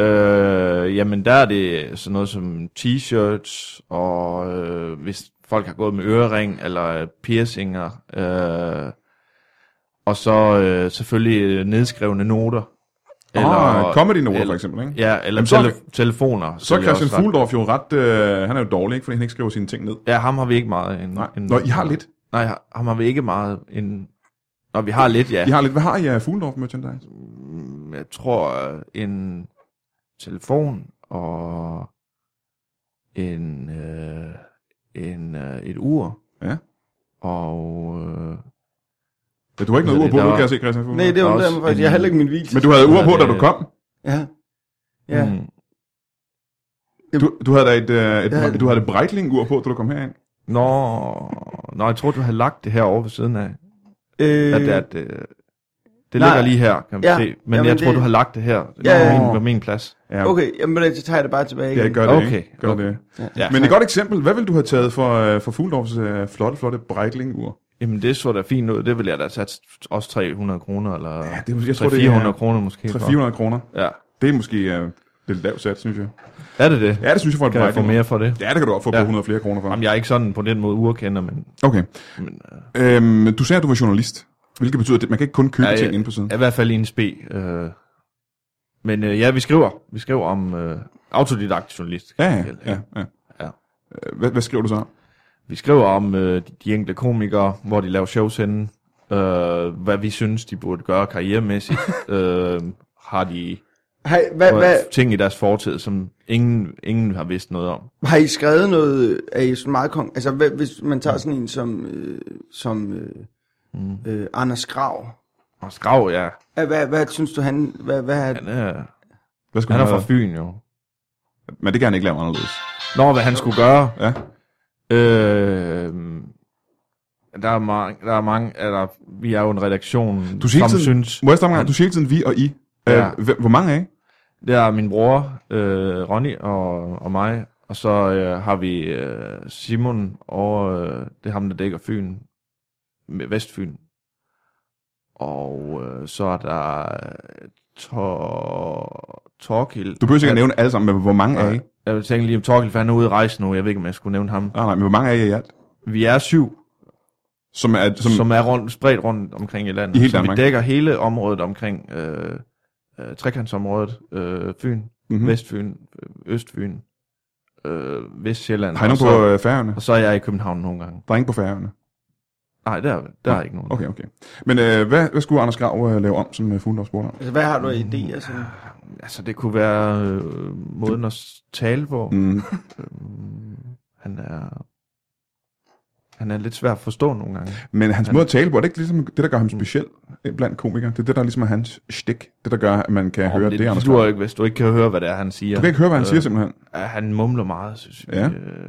Øh, jamen, der er det sådan noget som t-shirts, og øh, hvis folk har gået med ørering eller øh, piercinger, øh, og så øh, selvfølgelig øh, nedskrevne noter. Eller, ah, comedy-noter eller- for eksempel, ikke? Ja, eller Jamen, så er tele- telefoner. Så er sælger Christian også ret- Fugledorf jo ret, øh, han er jo dårlig, ikke? fordi han ikke skriver sine ting ned. Ja, ham har vi ikke meget. En, Nej. En, Nå, I har lidt. Nej, ha- ham har vi ikke meget. En, Nå, vi har lidt, ja. I har lidt, hvad har I af Fugledorf merchandise? Mm, Jeg tror, øh, en telefon og en, øh, en øh, et ur. Ja. Og øh, Ja, du har ikke noget Hvad ur er på, nu det, der kan var? jeg se, Christian Nej, Fugledorf. det undrer også mig faktisk. en- Jeg har heller ikke min video. Men du havde ur Hvad på, er da det? du kom. Ja. Ja. Mm. mm, Du, du havde da et, øh, et, Jeg havde- du havde et Breitling-ur på, da du kom herind. nå, nå, jeg tror, du havde lagt det her over ved siden af. Øh, at, at, øh, det nej. ligger lige her, kan man Ja, ja, se. Men jamen, jeg tror, det- du har lagt det her Ja, på, ja. min, på min plads. Ja, Øh, Okay, jamen, ved du, så tager jeg det bare tilbage Ja, igen. gør det, Okay, ikke? Gør okay. det. Ja. Men et godt eksempel, hvad ville du have taget for, øh, for Fugledorfs øh, flotte, flotte Breitling-ur? Jamen, det så da fint ud. Det ville jeg da sat også 300 kroner, eller ja, det er- jeg tror, det er 400 kroner måske. for. 300-400 kroner. Ja. Det er måske øh, lidt lavt sat, synes jeg. Er det det? Ja, det synes jeg for et Kan jeg få Breitling. mere for det? Ja, det kan du også få på Ja. 100 flere kroner for. Jamen, jeg er ikke sådan på den måde urkender, men Okay. Men, øh. Øhm, du sagde, at du var journalist. Hvilket betyder, at man kan ikke kun købe Ja, ja. ting inde på siden. er i hvert fald i en spe. Øh. Men øh, ja, vi skriver. Vi skriver om øh, autodidakt journalist. Ja, kan ja, jeg kalde ja. det. ja. Ja. Øh, Hvad, hvad skriver du så? Vi skriver om øh, de, de enkelte komikere, hvor de laver shows henne. Øh, hvad vi synes, de burde gøre karrieremæssigt. øh, har de Hej, hvad, hvad, ting i deres fortid, som ingen, ingen har vidst noget om? har I skrevet noget af I sådan meget kong... Altså, hvad, hvis man tager sådan en som, øh, som øh, Mm. øh, Anders Grav. Og Skrav, ja. Hvad, hvad, hvad synes du, han... Hvad, hvad, Han er, Hvad skulle han er han fra have? Fyn, jo. Men det kan han ikke lave anderledes. Nå, hvad han skulle gøre. Ja. Øh, der er mange, der er mange, eller vi er jo en redaktion, Du siger hele som tiden- synes... Må jeg stoppe en gang? Du siger hele tiden vi og I. Ja. Øh, hvem- hvor mange af? jer? Det er min bror, øh, Ronny og, og mig, og så øh, har vi øh, Simon, og øh, det er ham, der dækker Fyn, med Vestfyn. Og øh, så er der øh, Tor... Torkild. Du behøver ikke at nævne alle sammen, men hvor mange er I? Jeg tænkte lige om Torkild, for han er ude at rejse nu. Jeg ved ikke, om jeg skulle nævne ham. Nej, nej, men hvor mange er I i alt? Vi er syv, Som er, som, som, som er rundt, spredt rundt omkring i landet. I hele så Danmark. vi dækker hele området omkring øh, øh, trekantsområdet, øh, Fyn, mm-hmm. mm. Vestfyn, øh, Østfyn, øh, Vestsjælland. Har I og, nogen så, på øh, færøerne? og så er jeg i København nogle gange. Der er ingen på færøerne. Nej, der, der er ikke nogen. Okay, okay. Men øh, hvad, hvad skulle Anders Grav øh, lave om, som øh, Fuglendorf spurgte om? Altså, hvad har du Mm. af idéer? Sådan? Altså, det kunne være øh, måden at tale på. Mm. Mm. Han er... Han er lidt svær at forstå nogle gange. Men hans Han- måde at tale på, er det ikke ligesom det, der gør ham speciel øh, blandt komikere? Det er det, der ligesom er hans stik. Det, der gør, at man kan høre, det, er Anders du Grav. er ikke, hvis du ikke kan høre, hvad det er, han siger. Du kan ikke høre, hvad han Øh, siger simpelthen. Ja, han mumler meget, synes jeg. Ja. Øh,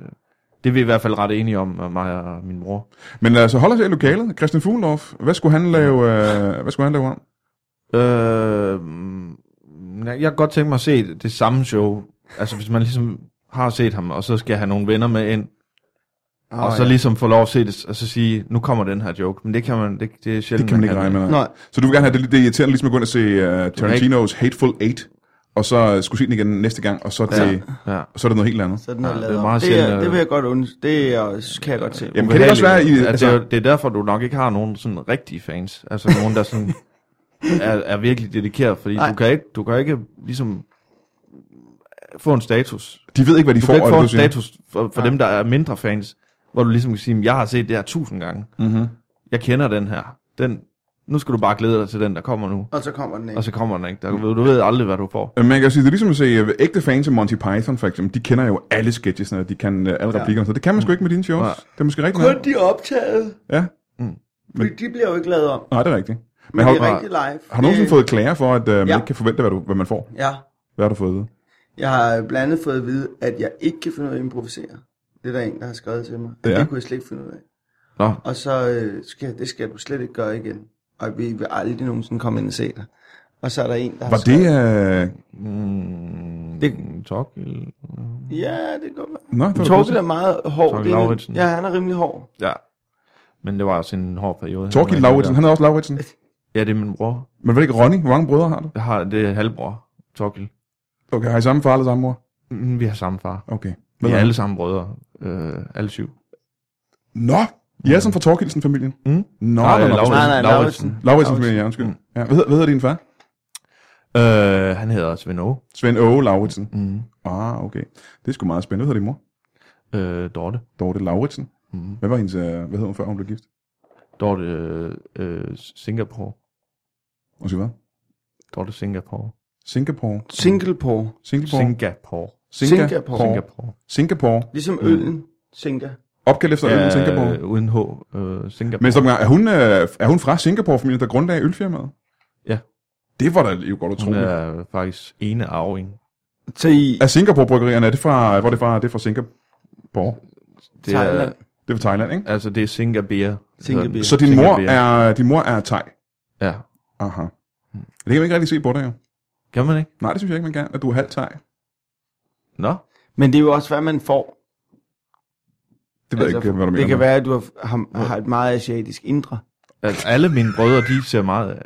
Det er vi i hvert fald ret enige om, øh, mig og min bror. Men altså, hold os i lokalet. Christian Fuglendorf, hvad skulle han lave, øh, hvad skulle han lave om? Øh, nej, jeg kan godt tænke mig at se det, det samme show. Altså hvis man ligesom har set ham, og så skal have nogle venner med ind, Ah, oh, og så ja. ligesom få lov at se det, og så sige, nu kommer den her joke. Men det kan man, det, det er sjældent. Det kan man ikke regne med. Nej. Så du vil gerne have det, det er irriterende ligesom at gå ind og se uh, Tarantino's Hateful Eight, og så øh, skulle se den igen næste gang, og så, til, ja. Ja. så er det noget helt andet. Sådan noget Ja, det er lader. meget det, er, sjældent, det øh, vil jeg godt undre. Det er, kan jeg godt se. Jamen, kan det også være, I, At altså, det, er, jo- det er derfor, du nok ikke har nogen sådan rigtige fans. Altså nogen, der sådan er, er virkelig dedikeret, fordi Nej. du kan, ikke, du kan ikke ligesom få en status. de ved ikke, hvad de Du får. kan ikke er få en det, du siger. status for, for dem, der er mindre fans, hvor du ligesom kan sige, jeg har set det her tusind gange. Mhm. Jeg kender den her. Den, nu skal du bare glæde dig til den, der kommer nu. Og så kommer den ikke. Og så kommer den ikke. Der, du ved aldrig, hvad du får. Øh, Man kan sige, det er ligesom at se øh, ægte fans af Monty Python, for eksempel. De kender jo alle sketchesne, og de kan øh, alle replikkerne. Så det kan man sgu ikke med dine shows. Nej. Det er måske rigtigt. Kun nok. de er optaget. Ja, Men, de bliver jo ikke lavet om. nej, det er rigtigt. Men Men har, det er har, rigtig live. har du nogensinde Det- fået klager for, at øh, man Ja. ikke kan forvente, hvad, du, hvad man får? Ja. Hvad har du fået at vide? Jeg har blandt andet fået at vide, at jeg ikke kan finde ud af at improvisere. Det er der en, der har skrevet til mig. At Ja. Det kunne jeg slet ikke finde ud af. Nå, Og så øh, skal, det skal du slet ikke gøre igen. Og vi vil aldrig nogensinde komme ind og se dig. Og så er der en, der har Var det... skrevet... Øh... mm, Det- talk, Ja, det kan godt være. Nå, det var Torgild er meget hård. Torkild Det er en- Lauridsen. Ja, han er rimelig hård. ja. Men det var også en hård periode. Torkild Lauritsen, han er også Lauritsen. Ja, det er min bror. Men var det ikke Ronny? Hvor mange brødre har du? Jeg har, det er halvbror, Torkild. Okay, har I samme far eller samme mor? Mm, Vi har samme far. Okay. Vi Hvad er ja. alle sammen brødre. Øh, alle syv. Nå, I er sådan fra Torkildsen-familien? Mm. Nå, nå, Nej, nå, nå. Lauritsen. Nej, nej, Lauritsen. Lauritsen. Lauritsen-familien, ja, undskyld. Mm. Ja. Hvad, hedder, hvad hedder din far? Øh, han hedder Svend Aage. Svend Åge Lauritsen. Mm. Ah, okay. Det er sgu meget spændende. Hvad hedder din mor? Øh, Dorte. Dorte Lauritsen. Mm. Hvad var hendes, øh, hvad hed hun før hun blev gift? Dorte øh, øh, Singapore. Undskyld, hvad? Dorte Singapore. Singapore. Singapore. Singapore. Singapore. Singa- Singapore. Por. Singapore. Singapore. Ligesom øllen. Singa. Opkaldt efter øen Singapore. Øh, uden H. Øh, Singapore. Men som, er, hun, øh, er hun fra Singapore-familien, der grundlagde ølfirmaet? Ja. Det var da jo godt Hun utroligt. Er... er faktisk ene arving. Til i er Singapore-bryggerierne, er det fra, hvor er det fra? Det er fra Singapore. Det er, Thailand. Det er fra Thailand, ikke? altså, det er Singapore. Singapore. Så din mor Singapore. er, din mor er thai? Ja. Aha. Det kan man ikke rigtig se på dig, jo. Kan man ikke? Nej, det synes jeg ikke, man kan, at du er halvt thai. Nå. Men det er jo også, hvad man får. Altså, Altså, Det ved jeg ikke, hvad du mener. det kan med. være, at du har, har, har et meget asiatisk indre. Altså, alle mine brødre, de ser meget...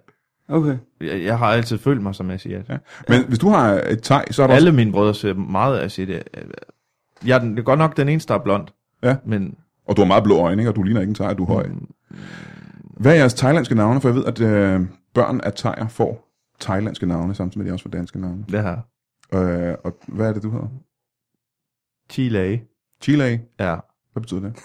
Okay. Jeg, jeg har altid følt mig som asiat. Ja. Men hvis du har et thai, så er der også... Alle mine brødre ser meget asiat. øh, Jeg er den, det er godt nok den eneste, der er blond. Ja. Men Og du har meget blå øjne, ikke? og du ligner ikke en thai, du er høj. Mm. Hvad er jeres thailandske navne? For jeg ved, at øh, børn af thaier får thailandske navne, samtidig med at de også får danske navne. det her. Øh, og hvad er det, du hedder? Chile. Chile. Ja. Hvad betyder det?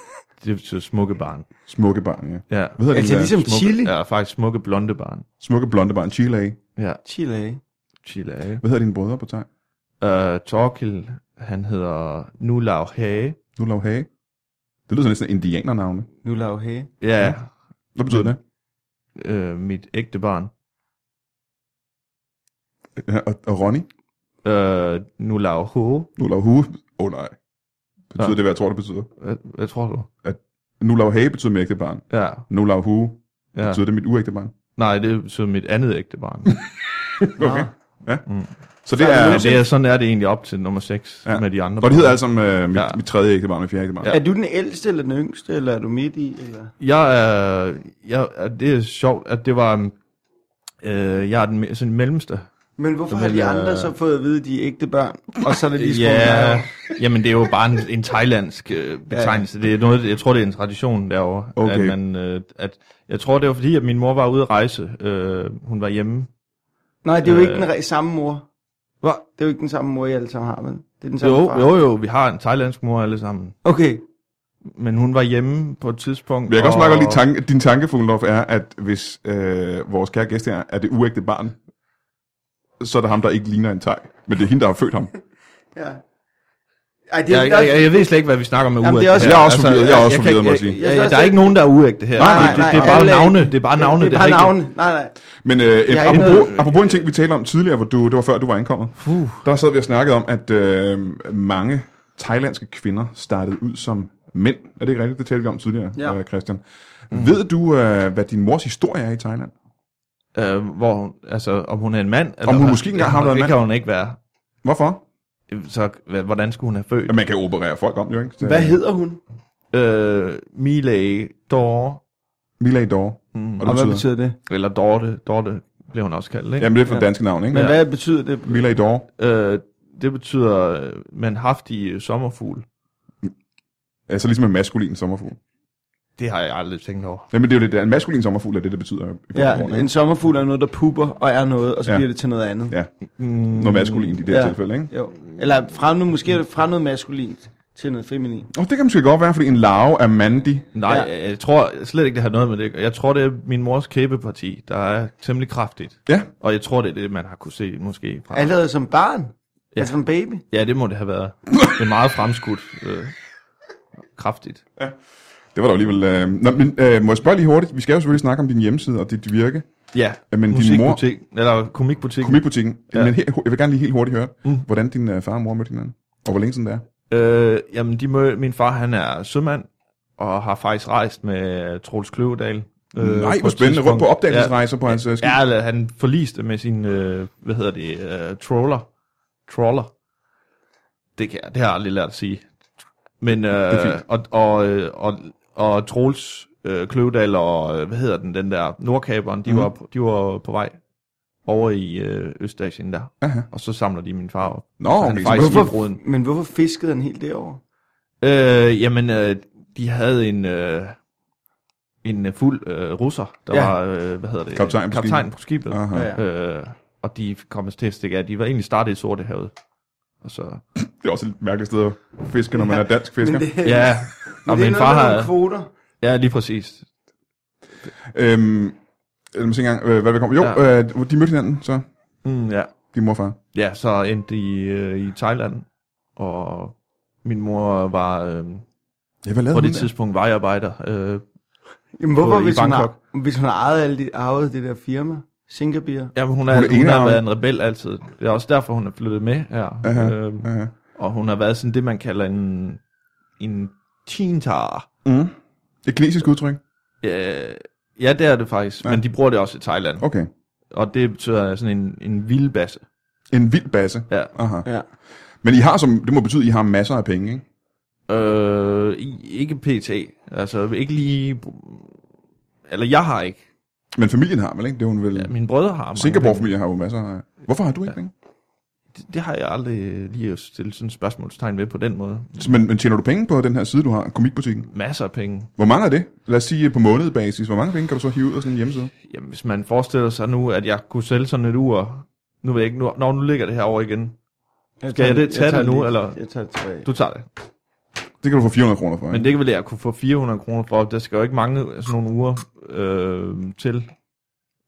Det betyder smukke barn. Smukke barn, ja. Ja. Hvad hedder Altså det? ligesom Smukke, Chile. Ja, faktisk smukke blonde barn. Smukke blonde barn, Chile. Ja, Chile. ikke? Chile. ikke? Hvad hedder dine brødre på thai? Øh, Torkil, han hedder Nulao Hage. Nulau Hage. Det lyder sådan lidt sådan indianernavne. Nu laver hæ. Ja, Hvad betyder det? øh, mit ægte barn. Ja, og, og Ronny? Øh, Nulao Ho. Nulau Hue. Åh oh, nej. Betyder Ja. det, hvad jeg tror, det betyder? Hvad, øh, hvad tror du? Nulau Hage betyder mit ægte barn. Ja, Nulau Hue ja. betyder det mit uægte barn. Nej, det betyder mit andet ægte barn. Okay. Ja. Mm. Så det Ja, er... det er, sådan er det egentlig op til nummer 6 Ja. ja. med de andre. Og det hedder altså øh, mit, Ja. mit tredje ægtebarn, mit fjerde ægtebarn. Ja. Er du den ældste eller den yngste, eller er du midt i? Eller? Jeg er, jeg, er- det er sjovt, at det var, øh, jeg er den me- sådan mellemste. Men hvorfor Jamen, har de øh, andre så fået at vide, at de er ægte børn? Og så er det lige Ja, jamen det er jo bare en, en thailandsk øh, betegnelse. Det er noget, jeg tror, det er en tradition derovre. Okay. At man, øh, at, jeg tror, det var fordi, at min mor var ude at rejse. Øh, hun var hjemme. Nej, det er jo ikke Øh. den re- samme mor. Hva? Det er jo ikke den samme mor, I alle sammen har, vel? Det er den samme Jo, far. jo, jo, vi har en thailandsk mor alle sammen. Okay. Men hun var hjemme på et tidspunkt. Men jeg kan også meget godt og- lide tanke, din tanke, Fuglendorf, er, at hvis øh, vores kære gæst her er det uægte barn, så er det ham, der ikke ligner en tag. Men det er hende, der har født ham. Ja. Ej, det er Jeg, jo jeg, jeg, jeg ved slet ikke, hvad vi snakker om med Jamen, det er uægte. også- Altså, her. Jeg er også forvirret, jeg er også kan forvirret, må jeg sige. ikke- jeg- Jeg er jeg- Der er også- ikke nogen, der er uægte her. Nej, Det- nej, det, det er nej, bare alle- navne. Det er bare navne. Det er har bare ikke- navne. Nej, nej. Men øh, en, har ikke apropos, noget- apropos en ting, vi talte om tidligere, hvor du, det var før, du var ankommet. Puh. Der sad vi og snakkede om, at øh, mange thailandske kvinder startede ud som mænd. Er det ikke rigtigt? Det talte vi om tidligere, ja. Ja. øh, Christian. Mhm. Mm. Ved du, øh, hvad din mors historie er i Thailand? Øh, hvor, hun- altså, om hun er en mand? Eller Om hun hvad? måske engang Ja, har været en Det mand. kan hun ikke være. Hvorfor? Så hva- hvordan skulle hun have født? Ja, man kan jo operere folk om, jo ikke? Så, Hvad hedder hun? Øh, Milay Dore, Milay Dore. Mhm. Mm. Og, det betyder, betyder? det? eller Dorte, Dorte blev hun også kaldt, ikke? Jamen, det er for ja. danske navn, ikke? Men Ja. Ja. hvad betyder det? Milay Dore. Øh, det betyder øh, man haftig øh, sommerfugl. Altså ligesom en maskulin sommerfugl. Det har jeg aldrig tænkt over. Jamen, det er jo det, der. en maskulin sommerfugl er det, det betyder. i bund og grund, Ja, ikke? en sommerfugl er noget, der pupper og er noget, og så Ja. ja. bliver det til noget andet. Ja. Mm. Noget maskulin i det her ja. Ja. tilfælde, ikke? Jo. Eller fra noget, måske er det fra noget maskulint til noget feminin. Og det kan måske godt være, fordi en larve er mandig. Nej, Ja. ja. jeg tror slet ikke, det har noget med det. Jeg tror, det er min mors kæbeparti, der er temmelig kraftigt. Ja, Og jeg tror, det er det, man har kunne se måske. Fra. Allerede som barn? Ja. Altså som baby? Ja, det må det have været. Det er meget fremskudt. Øh, kraftigt. det var da alligevel... Øh... Nå, men øh, må jeg spørge lige hurtigt? Vi skal jo selvfølgelig snakke om din hjemmeside og dit virke. Ja, Ja, men din musikbutik, eller komikbutik. Komikbutikken. Ja. Ja. Men her, jeg vil gerne lige helt hurtigt høre, mm. Mm. hvordan din øh, far og mor mødte hinanden. Og hvor længe siden det er. Øh, jamen, de mød, min far, han er sømand, og har faktisk rejst med Troels Kløvedal. Øh, på Nej, et hvor spændende. Rundt på tidspunkt. opdagelsesrejser ja. på hans øh, skib. Ja, ja, eller han forliste med sin, øh, hvad hedder det, øh, troller. Troller. Det, kan, jeg- det har jeg aldrig lært at sige. Men, Det er øh, fint. og, og, øh, og, og Troels øh, Kløvedal og, øh, hvad hedder den, den der Nordkaberen, de, Mhm. mm. var, på- de var på vej over i øh, Østasien der. Aha. Og så samler de min far op. Nå, han okay. er så faktisk- hvorfor- Bruden. men hvorfor fiskede han helt derovre? Øh, jamen, øh, de havde en, øh, en øh, fuld øh, russer, der Ja. ja. var, øh, hvad hedder det? Kaptajn på kaptajn skibet. på skibet. Aha. Ja. Øh, og de kom til at stikke af. De var egentlig startet i Sorte Havet. Og så, Det er også et mærkeligt sted at fiske, når man er dansk fisker. Men det, ja, men og det er min noget far med nogle har... kvoter. Ja, lige præcis. Øhm, eller måske engang, øh, hvad vi kom. Jo, ja. Ja. øh, de mødte hinanden, så Mm, ja. din mor og far. ja, så endte de øh, i Thailand, og min mor var... Øh, Ja, hvad lavede på hun det der? tidspunkt vejarbejder. Øh, Jamen, hvorfor, i hvis hun, har, Bangkok. hvis hun har ejet, alle de, ejet det der firma? Singapore? jamen, hun, er, Hun er hun, hun har enarmet. været en rebel altid. Det er også derfor, hun er flyttet med her. Aha, Øhm, Aha. Og hun har været sådan det, man kalder en, en teentar. Mm. Et kinesisk udtryk. Øh, ja, det er det faktisk, Ja. ja. men de bruger det også i Thailand. Okay. Okay. Og det betyder sådan en, en vildbasse. En vild basse. Ja. Aha. Ja. Men I har, som, det må betyde, at I har masser af penge, ikke? Øh, i- ikke PT, altså ikke lige... Eller jeg har ikke. Men familien har vel, ikke? Det er hun vel... Ja, Ja, mine brødre har mange penge. Singapore-familien har jo masser af... Hvorfor har du ikke ja. Ja. penge? Det, det har jeg aldrig lige stillet sådan et spørgsmålstegn ved på den måde. Så, Men, men tjener du penge på den her side, du har, komikbutikken? Masser af penge. Hvor mange er det? Lad os sige på månedbasis. Hvor mange penge kan du så hive ud af sådan en hjemmeside? Jamen, hvis man forestiller sig nu, at jeg kunne sælge sådan et ur... Nu ved jeg ikke, nu, nå, nu ligger det her over igen. Skal jeg det- tage det nu, lige- eller? Jeg tager det tilbage. Du tager det. Det kan du få 400 kroner for, ikke? Men det ville jeg kunne få 400 kroner for. Der skal jo ikke mange sådan nogle uger øh, til,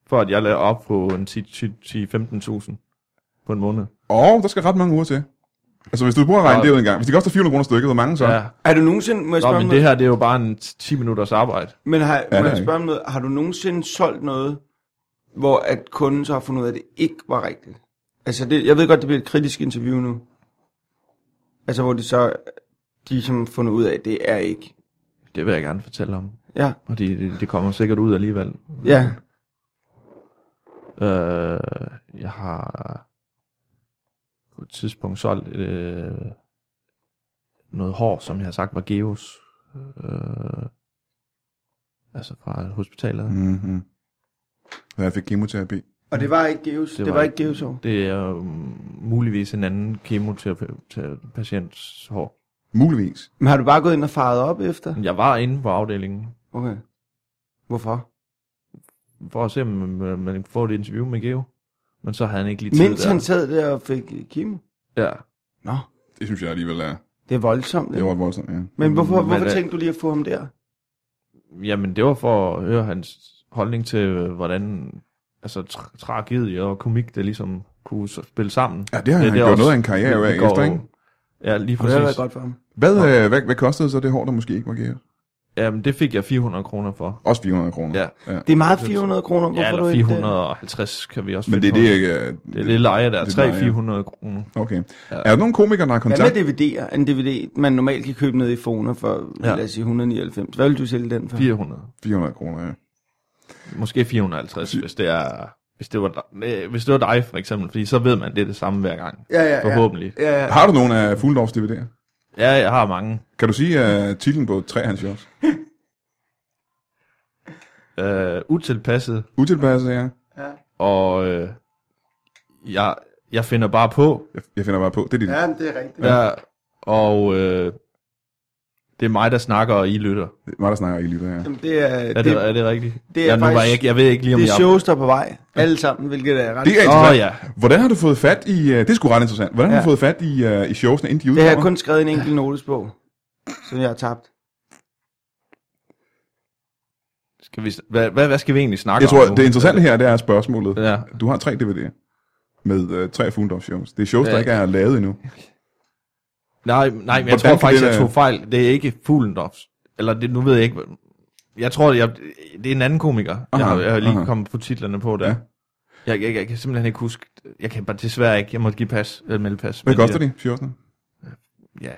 for at jeg lader op på en 10-15.000 på en måned. Og der skal ret mange uger til. Altså, hvis du bruger at regne det ud en gang. Hvis det koster 400 kroner stykket, hvor mange så? Ja. Er du nogensinde, må jeg Nå, spørge men om det noget? her, det er jo bare en 10 minutters arbejde. Men har, det ja, er må jeg ikke. spørge om noget? Har du nogensinde solgt noget, hvor at kunden så har fundet ud af, at det ikke var rigtigt? Altså, det, jeg ved godt, det bliver et kritisk interview nu. Altså, hvor de så, de som har fundet ud af, at det er ikke. Det vil jeg gerne fortælle om. Ja, Og det, det, det kommer sikkert ud alligevel. ja. Øh, jeg har... et tidspunkt solgt øh, noget hår, som jeg har sagt var Geos. Øh, altså fra hospitalet. Mm. Mm-hmm. Så jeg fik kemoterapi. Og det var ikke Geus. Det, det var ikke Geus år. Det er øh, muligvis en anden kemoterapeutpatients hår. Muligvis. Men har du bare gået ind og faret op efter? Jeg var inde på afdelingen Okay. Hvorfor? for at se, om man, man kunne få et interview med Geo. Men så havde han ikke lige tid Mens der. han sad der og fik kemo? Ja. Nå, Det synes jeg alligevel er... det er voldsomt. Det ikke? var voldsomt, ja. Men hvorfor, Men hvorfor hvad- tænkte du lige at få ham der? Jamen, det var for at høre hans holdning til, øh, hvordan altså, tra- tragedie og komik, det ligesom kunne s- spille sammen. Ja, det har han gjort også- noget af en karriere af det går- efter, ikke? Ja, lige Det havde været præcis. godt for ham. Hvad, øh, hvad, hvad kostede så det hår, der måske ikke var gæret? Jamen, det fik jeg 400 kroner for. Også 400 kroner. Ja, Det er meget 400 kroner. Hvorfor ja du eller ikke det? 450 kan vi også Men det finde er det, på. ikke... øh, Det er det leje, der er det leje, ja. 300-400 kroner. Okay. Er der nogen komikere, der har Hvad kontakt? med DVD'er? En DVD, man normalt kan købe ned i Fona for, ja. Ja. lad os sige, 199. Hvad vil du sælge den for? 400. 400 kroner, ja. Måske 450, hvis det er... Hvis det, var dig, øh, hvis det var dig, for eksempel, fordi så ved man, det er det samme hver gang. Ja, ja, ja. Forhåbentlig. ja, ja. Har du nogen af Fuldorfs DVD'er? Ja, jeg har mange. Kan du sige uh, titlen på tre af hans shows? Øh, utilpasset, Utilpasset, ja. og øh, jeg, jeg finder bare på. Jeg, jeg finder bare på. Det er dit. ja det er rigtigt. Ja. og øh, det er mig, der snakker, og I lytter. Det er mig, der snakker, I lytter, ja. Jamen, det er, Er det, det, er det rigtigt? det er jeg, nu var faktisk- jeg, ikke, jeg ved ikke lige, om det er jeg... shows, der er på vej. Alle sammen, hvilket er ret. Det er Åh, interessant. ja. Hvordan har du fået fat i... Uh, det er sgu ret interessant. Hvordan har du Ja. fået fat i, uh, i showsene, inden de det har jeg udkommer? kun skrevet i en enkelt notesbog, som jeg har tabt. Skal vi, hvad, hvad, hvad skal vi egentlig snakke Jeg tror, om? nu? det interessante her, det er spørgsmålet. Ja. Du har tre DVD'er med uh, tre Fuldorfs shows. Det er shows, der Ja. ikke er lavet endnu. Nej, nej, men Hvordan jeg tror kan faktisk, det- jeg tog fejl. Det er ikke Fuglendorfs. Eller det, nu ved jeg ikke. hvad- Jeg tror, jeg, det er en anden komiker. Aha, jeg, har, jeg har lige aha. aha. kommet på titlerne på der. Ja. Ja. Jeg, jeg, jeg, kan simpelthen ikke huske. Jeg kan bare desværre ikke. Jeg måtte give pas. Eller melde pas. Hvad Men koster de, showsene? Ja,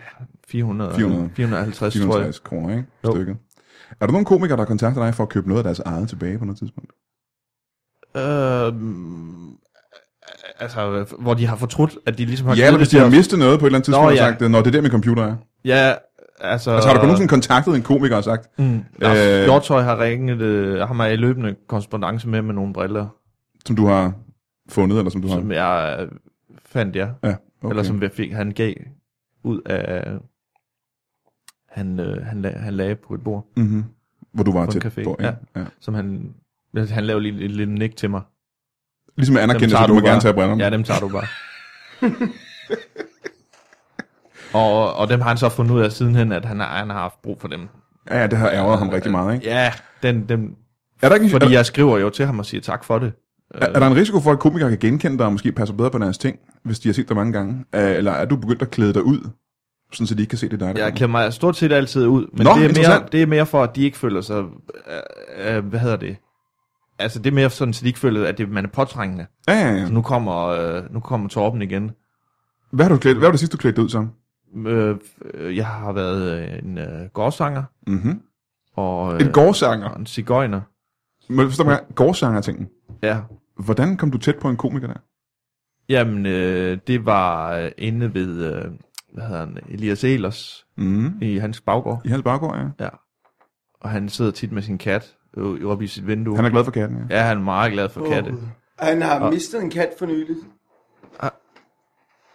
400, 400. 450, tror jeg. 460 kroner, ikke? Jo. Stykket. Er der nogen komikere, der kontakter dig for at købe noget af deres eget tilbage på noget tidspunkt? Øh, altså, hvor de har fortrudt, at de ligesom har Ja, givet eller hvis de til har os. mistet noget på et eller andet tidspunkt, Nå, ja. ja. og sagt, øh, Nå, det er der, min computer er. Ja, altså... Altså, har du på nogensinde kontaktet en komiker og sagt, Mm, Lars Øh, øh, Hjortøj har ringet, øh, ham er i løbende korrespondence med med nogle briller, som du har fundet, eller som du har... som jeg øh, fandt, ja. Ja, Okay. Eller som jeg fik, han gav ud af... Han, øh, han, la- han lagde på et bord, Mm-hmm. Hvor du var På en tæt café, på, ikke? Ja. som han... Han laver lige et lille nik til mig. Ligesom at anerkende, så du må bare. gerne tage brillerne. Ja, dem tager du bare. og, og dem har han så fundet ud af sidenhen, at han har, han har haft brug for dem. ja, ja, det har ærget ham rigtig meget, ikke? Ja, den, dem, Er der, ikke en, fordi er, jeg skriver jo til ham og siger tak for det. er, er der en risiko for, at komikere kan genkende dig, og måske passer bedre på deres ting, hvis de har set dig mange gange? Øh, Eller er du begyndt at klæde dig ud, sådan så de ikke kan se det er dig? der Jeg kommer? klæder mig stort set altid ud, Nå, men Nå, det, er mere, interessant. det er mere for, at de ikke føler sig... Øh, øh, hvad hedder det? Altså, det er mere sådan, at de ikke føler, at det, man er påtrængende. Ja, ja, ja. Så nu kommer, øh, nu kommer Torben igen. Hvad har du klædt? Hvad var det sidste, du klædte dig ud som? Øh, øh, jeg har været øh, en øh, gårdsanger Mm-hmm. og øh, En gårdsanger. og en cigøjner. Men forstår mig, gårdsanger-tingen. Ja, Hvordan kom du tæt på en komiker der? Jamen, øh, det var øh, inde ved, øh, hvad hedder han, Elias Elers Mm. i hans baggård. I hans baggård, ja. Ja. Og han sidder tit med sin kat øh, oppe i sit vindue. Han Han er glad for katten, ja. Ja, han er meget glad for katte. Han har mistet en kat for nylig.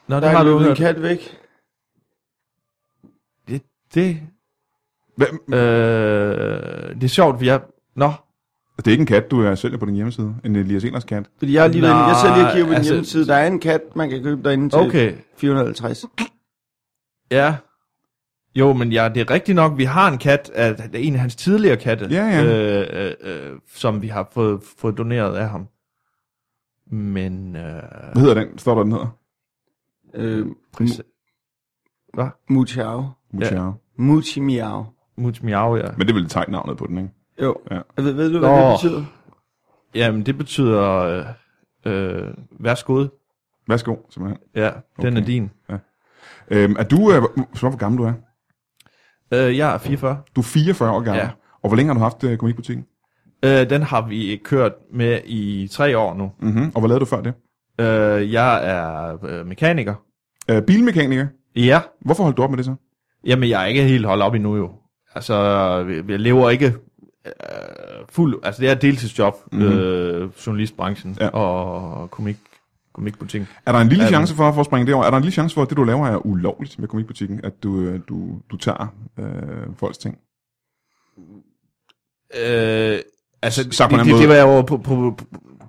Nå, det Der har er du løbet en hørt. kat væk. Det, det, Hvad? øh, det er sjovt, vi er... Nå, Det er ikke en kat, du er sælger på din hjemmeside. En Elias Ehlers kat. Fordi jeg, har lige været, inde- jeg sidder lige og kigger på din altså- hjemmeside. Der er en kat, man kan købe derinde til okay. 450. Ja. Jo, men ja, det er rigtigt nok, vi har en kat, at en af hans tidligere katte, Ja, ja. Øh, øh, øh, som vi har fået, fået doneret af ham. Men... Øh, Hvad hedder den? Står der, den hedder? Øh, Præcis. Mutiao. Muchao. Muti Miao. Muts miau, ja. Men det er vel tegnavnet på den, ikke? Jo. Ja. Ja. Ved, ved du, hvad Nå. Nå. det betyder? Jamen, det betyder, øh, øh, værsgo. Værsgo, simpelthen. Ja, den Okay. er din. Øhm, er du, øh, så hvor gammel du er? Øh, jeg er 44. Du er 44 år gammel. Ja. Ja. Og hvor længe har du haft øh, komikbutikken? Øh, den har vi kørt med i tre år nu. Mm-hmm. Og hvad lavede du før det? Øh, jeg er øh, mekaniker, Øh, bilmekaniker. Ja, Hvorfor holdt du op med det så? jamen jeg er ikke helt holdt op endnu jo. Altså, jeg jeg lever ikke øh, fuld... Altså, det er et deltidsjob, mm-hmm. øh, journalistbranchen Ja. ja. og komik, komikbutikken. Er der en lille Ja, men- chance for, for at springe derover? Er der en lille chance for, at det du laver er ulovligt med komikbutikken? At du, øh, du, du tager øh, folks ting? Øh, altså, Sagt på en anden det, det, måde. det, vil jeg jo, på, på, på,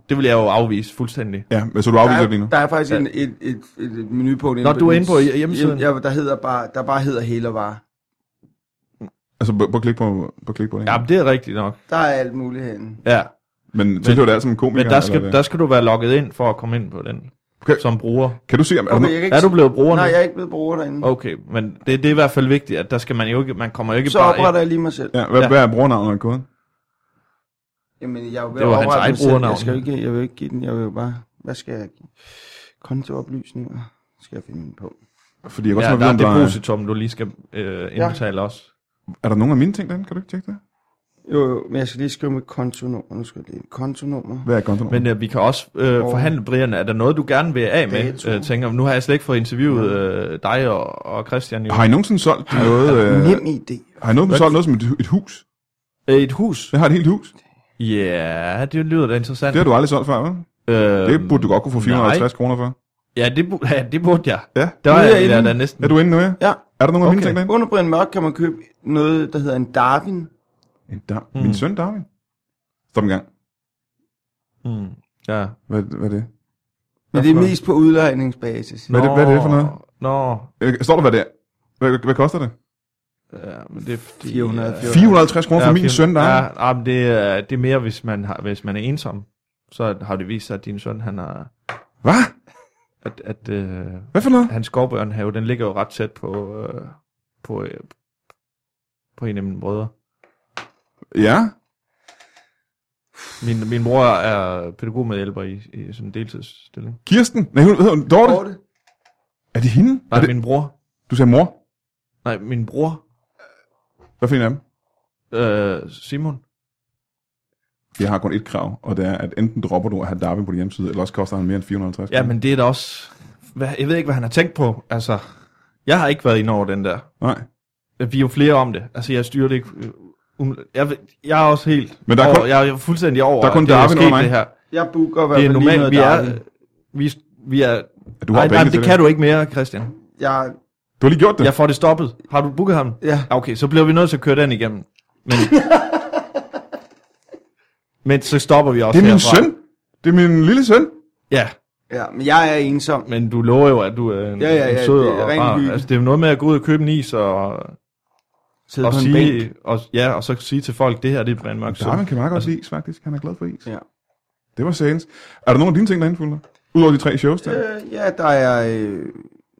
det vil jeg jo afvise fuldstændig. Ja, men så du afviser det lige nu? Der er faktisk en, et, et, et, et menupunkt Nå, du er den inde på s- hjemmesiden. Ja, der hedder bare, der bare hedder hælervarer. Altså, prøv prøv at klikke på, på, klik på det. Ja, Ja, men det er rigtigt nok. Der er alt muligt herinde. Ja, men tilhører det alt som en komiker? men der eller er skal, det- der skal du være logget ind for at komme ind på den Okay. okay. som bruger. Kan du se, om er der Okay, noget, jeg kan ikke Er du blevet bruger Nej, nu? jeg er ikke blevet bruger derinde. Okay, men det, det er i hvert fald vigtigt, at der skal man jo ikke, man kommer jo ikke Så bare ind. opretter jeg lige mig selv. ja, hvad, Ja. hvad er brugernavnet og koden? Jamen, jeg er jo ved Det at var hans oprette eget mig selv. brugernavn. Jeg, skal jo ikke, jeg vil ikke give den, jeg vil jo bare... Hvad skal jeg give? Kontooplysninger skal jeg finde min på. Fordi jeg kan Ja, godt der ja, er tænke, om der, depositum, du lige skal øh, Ja. indbetale også. er der nogen af mine ting derinde? Kan du ikke tjekke det? Jo, jo, men jeg skal lige skrive mit kontonummer. Nu skal jeg lige... Kontonummer. Hvad er kontonummer? Men øh, vi kan også øh, Og- forhandle, Brian, er der noget, du gerne vil af med? Dato. Øh, tænker, nu har jeg slet ikke fået interviewet øh, dig og, og Christian. Jo. har I nogensinde solgt noget, øh, Nem idé. har I nogensinde solgt noget som et, et hus? Øh, et hus? Jeg har et helt hus. Ja, yeah, det lyder da interessant. Det har du aldrig solgt før, vel? øh, Det burde du godt kunne få 450 nej. kroner for. Ja, det, bu- ja, det burde jeg. Ja. Nu Der var er jeg jeg, jeg inde. da næsten. Er du inde nu, ja? Ja. Er der nogen af mine Okay. ting derinde? Under Brian Mørk kan man købe noget, der hedder en Darwin. En Dar- Min søn Darwin. Mm. Stop en gang. Mm, ja. Hvad, hvad er det? Men det er mest på udlejningsbasis. Hvad er det- hvad er det for noget? Nå, Øh, Står der, hvad det er? Hvad, hvad koster det? ja, men det er fordi... 400, øh, 450 kroner for min søn Darwin? Ja, ja, men det, er, det er mere, hvis man, har, hvis man er ensom. Så har det vist sig, at din søn, han har... Hvad? At, at øh, Hvad for noget? hans skovbørnhave, den ligger jo ret tæt på, øh, på, øh, på en af mine brødre. Ja. Min, min bror er pædagogmedhjælper i, i sådan en deltidsstilling. Kirsten? Nej, hun hedder hun Dorte. Dorte. Er det hende? Nej, Er det, min bror. du sagde mor. Nej, min bror. Hvad for en af dem? Øh, Simon. Jeg har kun et krav, og det er, at enten dropper du at have Darwin på din hjemmeside, eller også koster han mere end 450 Ja, men det er da også... Hvad, jeg ved ikke, hvad han har tænkt på. Altså, jeg har ikke været inde over den der. Nej. Vi er jo flere om det. Altså, jeg styrer det ikke. øh, umiddelbart. Jeg, ved- jeg er også helt Men der er over, kun- jeg er fuldstændig over, der er kun at det Darwin sket, under mig. det her. Jeg booker i hvert Det er fald lige noget normalt, vi er, Darwin. vi, vi er, Du har nej, nej, penge til det kan du ikke mere, Christian. Jeg, Du har lige gjort det. Jeg får det stoppet. Har du booket ham? ja. Okay, så bliver vi nødt til at køre den igennem. Men, men så stopper vi også Det er min herfra. søn. Det er min lille søn. Ja, ja, men jeg er ensom. men du lover jo, at du er en, Ja, ja, en ja, sød det er og ren rar. hygge. Altså, det er jo noget med at gå ud og købe en is og, Sidde og, på en bænk. sige, og, ja, og så sige til folk, det her det er Brian Mørk Søn. Darwin kan meget godt lide is, faktisk. Han er glad for is. Ja. Det var sagens. Er der nogen af dine ting, der er indfulder? Udover de tre shows der? Øh, ja, der er... Øh,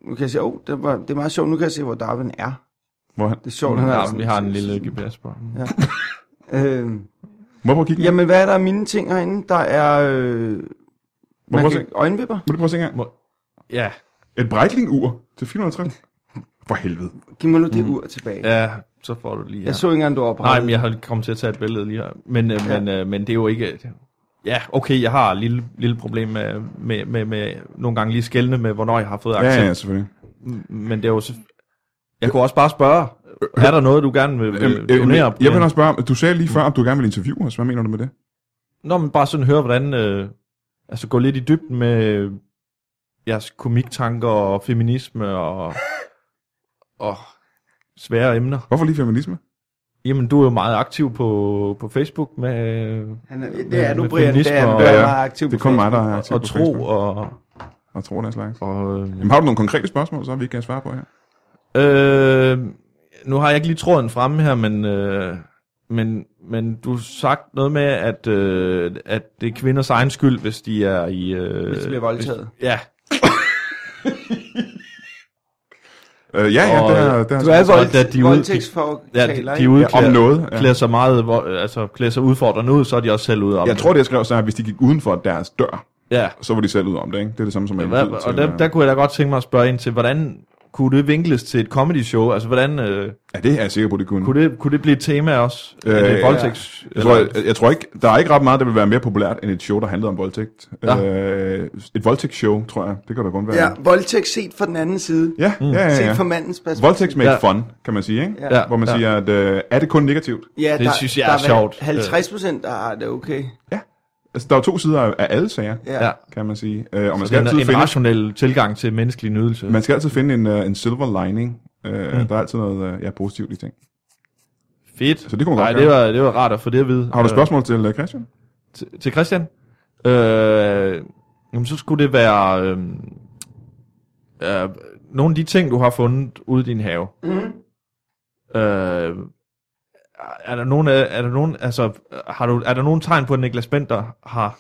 nu kan jeg se, oh, det, var, det er meget sjovt, nu kan jeg se, hvor Darwin er. Hvor han... Det er sjovt, han er... Ja, sådan- Mm, vi har en lille GPS på. den. Må Øh, jeg prøve at kigge? Jamen. jamen, hvad er der af mine ting herinde? Der er... Øh, man prøve kan, at øjenvipper. Må du prøve at se engang? Ja, Et Breitling-ur til 450. For helvede. Giv mig nu det ur tilbage. Ja. Mm. ja, så får du lige her. Jeg så ikke engang, du Nej, men oprettede. jeg har kommet til at tage et billede lige her. Men, øh, Ja. men, øh, men det er jo ikke... Ja, okay, jeg har et lille, lille problem med, med, med, med nogle gange lige skældne med, hvornår jeg har fået Ja, accent. ja, selvfølgelig. Men det er jo så... Jeg kunne også bare spørge, er der noget, du gerne vil, Øhm, vil øhm, donere? jeg vil Brian? også spørge, om- du sagde lige før, om du gerne vil interviewe os. Hvad mener du med det? Nå, men bare sådan høre, hvordan... Øh, altså gå lidt i dybden med jeres komiktanker og feminisme og, og svære emner. Hvorfor lige feminisme? Jamen, du er jo meget aktiv på, på Facebook med, Han er, Med- det er du, med Brian. Det er, feminisme du og- er Ja, ja. meget aktiv Det er på kun mig, der Facebook. er aktiv og på tro Facebook. og... Og tro og den slags. og øh, Jamen, har du nogle konkrete spørgsmål, så vi kan svare på her? Øh, nu har jeg ikke lige tråden fremme her, men, øh, men, men du har sagt noget med, at, øh, at det er kvinders egen skyld, hvis de er i... Øh, Hvis de bliver voldtaget. Hvis, ja, Øh, ja, ja, Og, det er... Det er Du er Sådan, vold, at de de ud- voldtægtsfortaler, ja, de, de ikke? ja, om udklæder, noget. Ja. klæder sig meget, hvor- altså klæder sig udfordrende ud, så er de også selv ude om Jeg tror, det jeg skrev, så er, at hvis de gik uden for deres dør, det. Ja. så var de selv ud om det, ikke? Det er det samme som... at Hvad, jeg er nødt til og at der, være- der kunne jeg da godt tænke mig at spørge ind til, hvordan Kunne det vinkles til et comedy show? Altså, hvordan... Øh, Ja, det er jeg sikker på, det kunne. kunne, det, kunne det blive et tema også? Øh, Øh, ja. voldtægts... Jeg tror, øh, jeg, jeg tror ikke, der er ikke ret meget, der vil være mere populært end et show, der handlede om voldtægt. Ja. Øh, et voldtægtsshow, tror jeg. Det kan der kun være. Ja, voldtægt set fra den anden side. Ja, ja, ja, Set ja. fra mandens perspektiv. Voldtægt med Mm. Ja. et fun, kan man sige, ikke? Ja. Hvor man ja. siger, at øh, er det kun negativt? Ja, Det der, synes jeg der er sjovt. 50 procent, der har det okay. Altså, der er jo to sider af af alle sager, Ja. Ja. ja. kan man sige. Øh, og man skal, en, altid en finde, rationel tilgang til menneskelig nydelse. man skal altid finde en, øh, en silver lining. Øh, Mm. Der er altid noget øh, ja, positivt i ting. Fedt. Så det kunne man Nej, godt det gøre. var, det var rart at få det at vide. Har du Øh, spørgsmål til øh, Christian? til- til Christian? Øh, jamen, så skulle det være... Øh, øh, nogle af de ting, du har fundet ude i din have. Mm. Øh, er der nogen, af- er der nogen, altså, har du, er der nogen tegn på, at Niklas Bender har...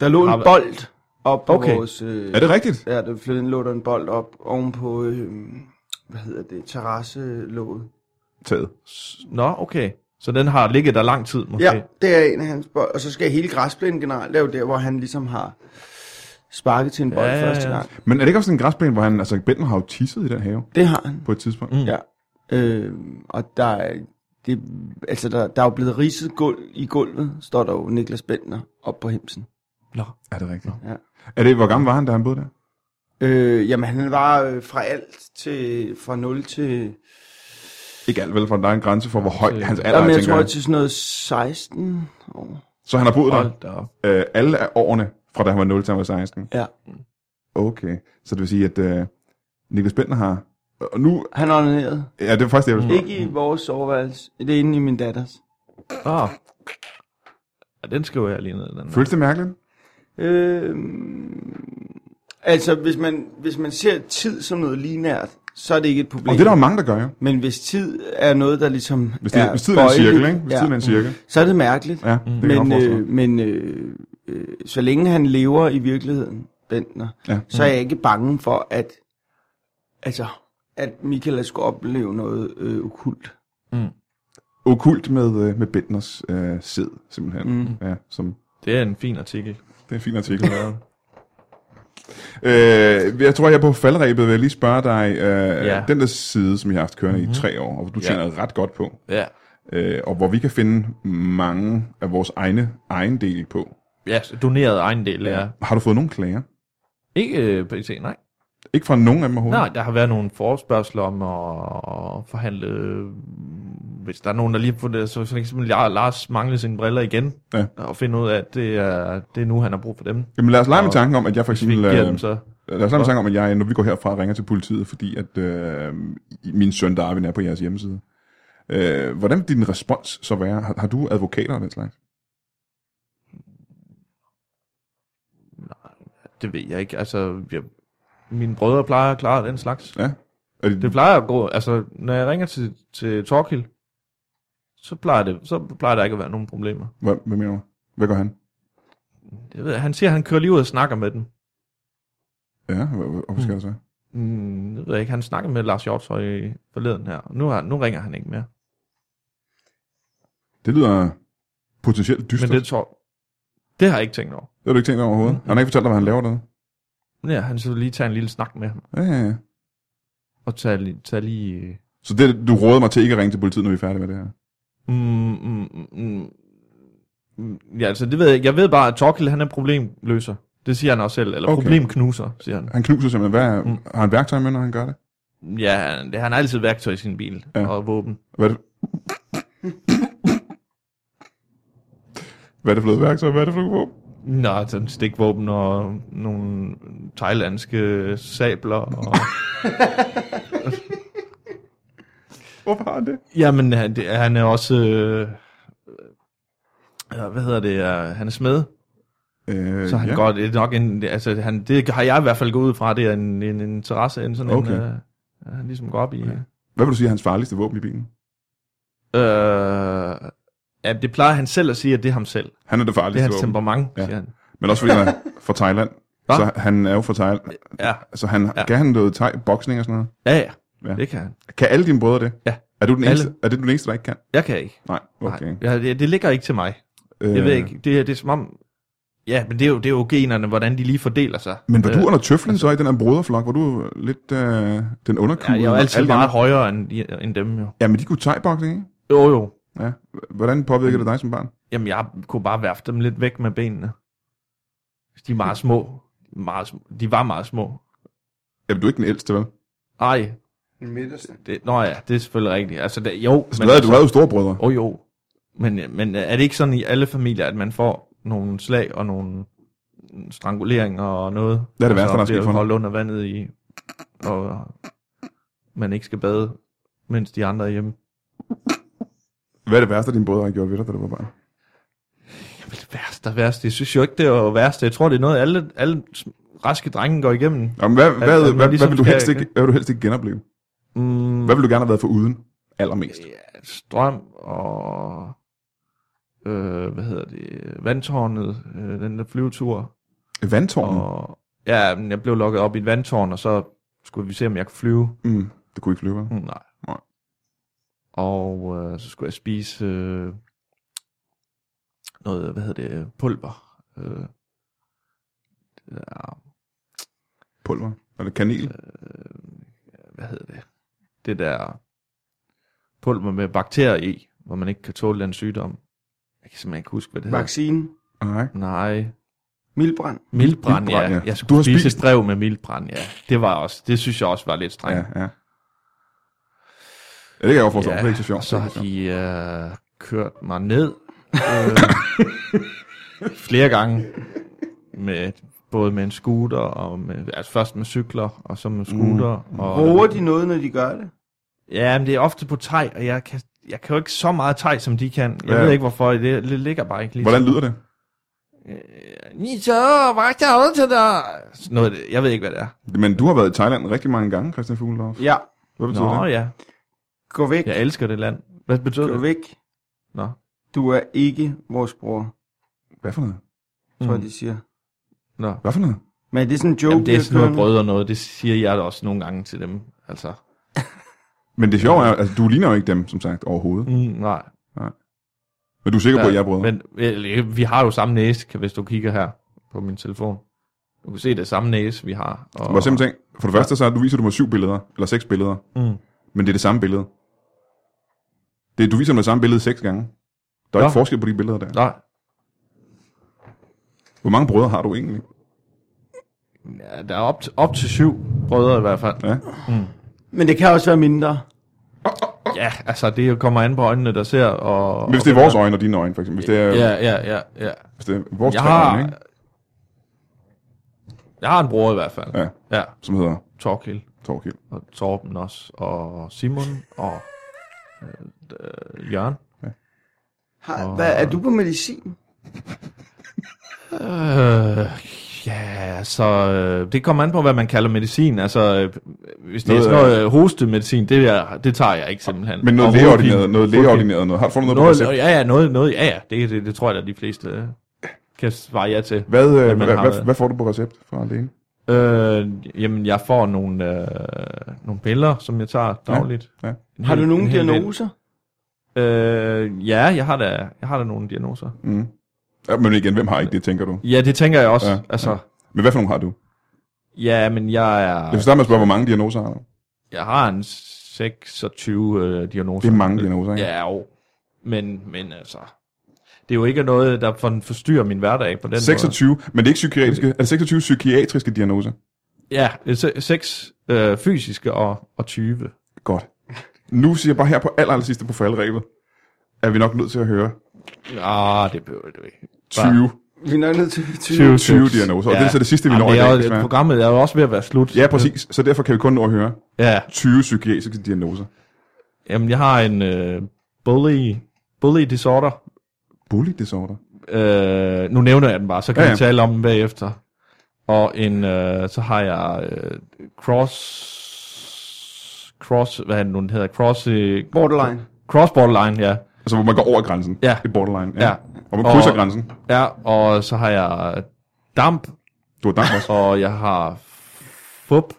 Der lå Har- en bold op på Okay. vores... Øh, Er det rigtigt? Ja, der flyttede en lå der en bold op oven på, øh, hvad hedder det, terrasselåget. Taget. Nå, okay. Så den har ligget der lang tid, måske. Ja, det er en af hans bold. Og så skal hele græsplænen generelt lave der, hvor han ligesom har sparket til en bold Ja, ja, ja, første ja. gang. Men er det ikke også sådan en græsplæne, hvor han, altså Bender har jo tisset i den have Det har han. på et tidspunkt? Mm. Ja. Øh, og der er, det, altså der, der er jo blevet ridset gulv, i gulvet, står der jo Niklas Bentner op på hemsen. Nå. Er det rigtigt? Ja. Er det, hvor gammel var han, da han boede der? Øh, jamen han var øh, fra alt til, fra 0 til, Ikke alt vel, for der er en grænse for, hvor høj Øh, hans alder er, jamen, jeg tænker tror jeg. til sådan noget 16 år. Så han har boet der Hold da op. øh, alle af årene, fra da han var 0 til han var 16? Ja. Okay, så det vil sige, at øh, Niklas Bender har... Og nu... Han onanerede. Ja, det var faktisk det, jeg ville spørge. Ikke i vores soveværelse. Det er inde i min datters. Ah. Ja, den skriver jeg lige ned. Den der. Føles det mærkeligt? Øh, altså, hvis man, hvis man ser tid som noget linært, så er det ikke et problem. Og det er der jo mange, der gør jo. Men hvis tid er noget, der ligesom Hvis, det, er ja, hvis tiden er en bøjeligt, cirkel, ikke? Hvis ja, tiden er en cirkel. så er det mærkeligt. Ja, det kan jeg godt men forestille øh, mig. men øh, øh, så længe han lever i virkeligheden, Bentner, Ja. så er jeg ikke bange for, at, altså, at Michael skulle opleve noget øh, okult. Okult med, øh, med Bendners øh, sæd, simpelthen. Mm. Ja, som, Det er en fin artikel. det er en fin artikel. øh, jeg tror, jeg på faldrebet vil jeg lige spørge dig. Øh, Ja. Mhm. ja. Den der side, som jeg har haft kørende mm-hmm. i tre år, og hvor du Ja. tjener ret godt på, Ja. øh, og hvor vi kan finde mange af vores egne egen del på. Ja, så doneret ejendel, ja. Har du fået nogen klager? Ikke øh, PC, nej. Ikke fra nogen af dem overhovedet? Nej, der har været nogle forespørgseler om at forhandle... øh, Hvis der er nogen, der lige har fundet... Så for eksempel La- Lars mangler sine briller igen. Ja. Og finde ud af, at det er, det er nu, han har brug for dem. Jamen lad os lege med Og tanken om, at jeg for Hvis vi eksempel... ikke giver dem, Øh, så... lad os lege med tanken om, at jeg, når vi går herfra, ringer til politiet, fordi at øh, min søn Darwin er på jeres hjemmeside. Øh, hvordan vil din respons så være? Har, har du advokater og den slags? Det ved jeg ikke. Altså, jeg, mine brødre plejer at klare den slags. Ja. Er det, Det plejer at gå, altså når jeg ringer til, til Torkild, så plejer, det, så plejer der ikke at være nogen problemer. hvad, hvad mener du? Hvad gør han? Jeg ved, han siger, at han kører lige ud og snakker med dem. Ja, hvad, hvad, hvorfor skal jeg så? Mm, jeg ved ikke, han snakkede med Lars Hjortøj i forleden her. Nu, har, nu ringer han ikke mere. Det lyder potentielt dystert. Men det Mm. Det, tror det har jeg ikke tænkt over. det har du ikke tænkt over overhovedet. Han har ikke fortalt dig, hvad han laver der. Ja, han så lige tage en lille snak med ham. Ja, ja, ja. Og tage, li- tage lige... Så det, du råder mig til ikke at ringe til politiet, når vi er færdige med det her. Mm, mm, mm, mm, mm, ja, altså det ved jeg ikke. Jeg ved bare, at Torkild, han er problemløser. Det siger han også selv. Eller Okay. okay. problemknuser, siger han. Han knuser simpelthen. Hvad er, Mm. Har han værktøj med, når han gør det? Ja, han, han har altid værktøj i sin bil. Ja. Ja. Og våben. Hvad er det? Hvad er det for noget værktøj? Hvad er det for noget våben? Nå, sådan stikvåben og nogle thailandske sabler. Og... Hvorfor har han det? Jamen, han, det, han er også... Øh, øh, hvad hedder det? Øh, han er smed, Øh, så han ja. går, det er nok en... det- Altså, han, det har jeg i hvert fald gået ud fra, det er en, en, en interesse, en sådan Okay. en... Øh, han ligesom går op i... Okay. Hvad vil du sige er hans farligste våben i bilen? Øh, ja, det plejer han selv at sige, at det er ham selv. Han er det Det er farligste hans det våben. temperament, Ja. ja. siger han. Men også fordi han er fra Thailand. Hva? Så han er jo fra Thailand. Ja, Så han, ja. Ja. kan han noget thai, boksning og sådan noget? ja, ja. Ja. ja. Det kan han. Kan alle dine brødre det? Ja. Er du den Alle. eneste, er det du den eneste, der ikke kan? Jeg kan ikke. Nej, okay. Nej. Ja, det, det ligger ikke til mig. Øh, Jeg ved ikke, det, er- det er som om, Ja, men det er, jo, det er jo generne, hvordan de lige fordeler sig. Men var du Øh, under tøflen så i den her broderflok? Var du lidt øh, den ja, underkugle? jeg er jo altid Alle de meget andre- højere end, de- end dem jo. Ja, men de kunne thai ikke? Jo, jo. Ja. Hvordan påvirkede det dig som barn? Jamen, jeg kunne bare værfe dem lidt væk med benene. De er meget små. Meget, små. de var meget små. Jamen, du er ikke den ældste, vel? Ej, Den midterste. det, nå ja, det er selvfølgelig rigtigt. Altså, det, jo, Altså, du, havde, du havde jo store brødre. Åh oh, jo, men, men er det ikke sådan i alle familier, at man får nogle slag og nogle stranguleringer og noget? Det er det Og værste, så der er sket bliver for mig. holdt under vandet i, og man ikke skal bade, mens de andre er hjemme. Hvad er det værste, dine brødre har gjort ved dig, da du var barn? Jamen, det værste og værste, jeg synes jo ikke, det er jo værste. Jeg tror, det er noget, alle, alle raske drenge går igennem. Jamen, hvad, hvad, at hvad, man hvad, ligesom vil du skal- helst ikke, hvad vil du helst ikke genopleve? Mm, Hvad vil du gerne have været for uden? Allermest. Ja, strøm og... Øh, hvad hedder det? Vandtårnet, øh, den der flyvetur. Øh, Vandtårnen? Og, ja, men jeg blev lukket op i et vandtårn, og så skulle vi se, om jeg kunne flyve. Mm, det kunne ikke flyve, vel? Mm, nej. Nej. Og øh, så skulle jeg spise øh, noget, hvad hedder det, pulver. Øh, det der, Pulver? Eller kanel? hvad hedder det? Det der pulver med bakterier i, hvor man ikke kan tåle den sygdom. Jeg kan simpelthen ikke huske, hvad det hedder. Vaccine. Nej. Nej. Mildbrand. Mildbrand, Mildbrand, ja. ja. ja. Jeg skulle Du har spise spist- et drev med mildbrand, ja. Det, var også, det synes jeg også var lidt strengt. Ja, ja. Ja, det kan jeg jo forstå. Ja, det er ikke så sjovt. og så Det er har ikke sjovt. de øh, kørt mig ned øh, flere gange. Med, både med en scooter, og med, altså først med cykler, og så med scooter. Mm. Og, Bruger de noget, når de gør det? Ja, men det er ofte på teg, og jeg kan, jeg kan jo ikke så meget teg, som de kan. Jeg Ja. ja. ved ikke, hvorfor. Det, det ligger bare ikke lige. Hvordan Øh, lyder det? Ni så, hvad der til dig? Sådan Noget, af det. jeg ved ikke, hvad det er. Men du har været i Thailand rigtig mange gange, Christian Fuglendorf. Ja. Hvad betyder Nå det? ja, Gå væk. jeg elsker det land. Hvad betyder Gå det? væk. Nå. Du er ikke vores bror, Hvad for noget? tror jeg, Mm. de siger. Nå. Hvad for noget? Men det er sådan en joke, Jamen, det er vi har sådan noget kørende. brød og noget, det siger jeg da også nogle gange til dem. Altså, Men det sjove er, altså, du ligner jo ikke dem, som sagt, overhovedet. mm, nej. Men du er sikker på, at jeg er brødre? men øh, vi har jo samme næse, kan- hvis du kigger her på min telefon. Du kan se, det er samme næse, vi har. Og, Hvor simpelthen, for det første så er- du viser du mig syv billeder, eller seks billeder, Mm. men det er det samme billede. Det, du viser mig det samme billede seks gange. Der er Nå. ikke forskel på de billeder der. Nej. Hvor mange brødre har du egentlig? Ja, der er op til, op til syv brødre i hvert fald. Ja. Men det kan også være mindre. Ja, altså det kommer an på øjnene, der ser. Og, Men hvis det er vores øjne og dine øjne, for eksempel. Hvis det er, Ja, ja, ja. ja. hvis det er vores Jeg tre har, øjne, ikke? jeg har en bror i hvert fald. Ja, ja som hedder Torkild. Torkild. og Torben også, og Simon, og øh, øh, Jørgen. Har, hvad, er du på medicin? Øh, ja, så øh, det kommer an på, hvad man kalder medicin. Altså, øh, hvis det Noget, noget, er sådan noget øh, hostemedicin, det, er, det tager jeg ikke simpelthen. Men noget Og lægeordineret, hovedpine. noget lægeordineret, noget. Har du fundet noget, noget på Noget, recept? ja, ja, noget, noget, ja, ja. Det, det, det tror jeg, at de fleste øh, kan svare ja til. Hvad, øh, man hvad, har hvad, været. hvad, får du på recept fra lægen? Øh, jamen, jeg får nogle, øh, nogle piller, som jeg tager dagligt. ja. En Har hel- du nogen en hel del. diagnoser? Øh, ja, jeg har, da, jeg har da nogle diagnoser. Mm. Ja, men igen, hvem har ikke det, tænker du? Ja, det tænker jeg også. Ja, Ja, altså, Men hvad for nogle har du? ja. ja, men jeg Jeg vil er, starte med at spørge, hvor mange diagnoser har du? jeg har en 26 øh, diagnoser. Det er mange diagnoser, ikke? Ja, jo. Men, men altså, det er jo ikke noget, der for- forstyrrer min hverdag på den 26, men det er ikke psykiatriske. Er det 26 psykiatriske diagnoser? måde. Ja, det er 6 øh, fysiske og, og 20. Godt. Nu siger jeg bare her på aller, aller sidste på faldrebet, at vi nok nødt til at høre Ah, det behøver du ikke. 20, Bare Vi er nok nødt til 20. 20 diagnoser, og det er så det sidste, vi når i det dag, er jo- desværre. Programmet er jo også ved at være slut. Ja, præcis. Så derfor kan vi kun nå at høre Ja, 20 psykiatriske diagnoser. jamen jeg har en øh, bully, bully disorder. Bully disorder. øh, nu nævner jeg den bare, så kan Ja, ja, ja. ja. vi tale om den bagefter. Og en, øh, så har jeg øh, cross, cross, hvad er det nu, den hedder, cross, øh, Borderline. cross borderline, ja. Altså, hvor man går over grænsen. Ja. Det er borderline. Ja. Og man krydser Og- grænsen. ja. Og så har jeg damp, Du har damp også. og jeg har fup,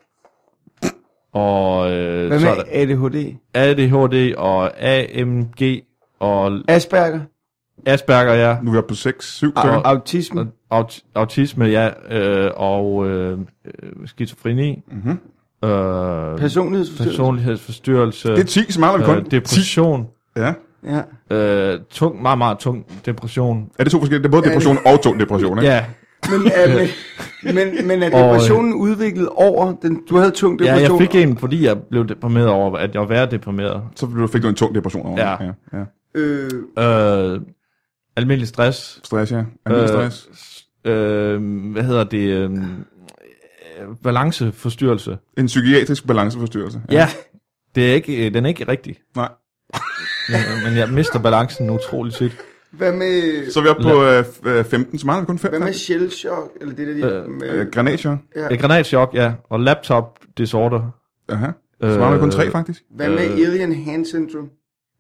og øh, Hvad så er med der ADHD? ADHD og AMG, og Asperger? Asperger, ja. Nu er vi oppe på 6-7 Ah, stykker. og- Autisme. Og Aut- autisme, ja. Øh, og øh, øh, skizofreni. Mhm. Øh, Personlighedsforstyrrelse. personlighedsforstyrrelse. Det er 10, så mangler vi kun. øh, depression. Ja. Ja. Øh, tung, meget, meget tung depression. Er det to forskellige? Det er både Ja, det- depression og tung depression, ikke? Ja, Men, er, men, men, men er Og, øh, depressionen udviklet over den... Du havde tung ja, depression. jeg fik en, fordi jeg blev deprimeret over, at jeg var deprimeret. Så blev- fik du en tung depression over. Ja. ja. ja. Øh, Øh, almindelig stress. Stress, ja. Almindelig stress. Øh, hvad hedder det? Øh, øh, balanceforstyrrelse. En psykiatrisk balanceforstyrrelse. Ja, det er ikke, øh, den er ikke rigtig. Nej. Men, men jeg mister balancen utroligt tit. hvad med... Så er vi oppe på øh, f- øh, 15, så mangler vi kun 5. Hvad med shellshock? Eller det der, de... Øh, med, Øh, Granatier. ja. Ja. Granatschok, ja. Og laptop disorder. Aha. Så mangler vi kun 3, faktisk. Hvad med øh, alien hand syndrome?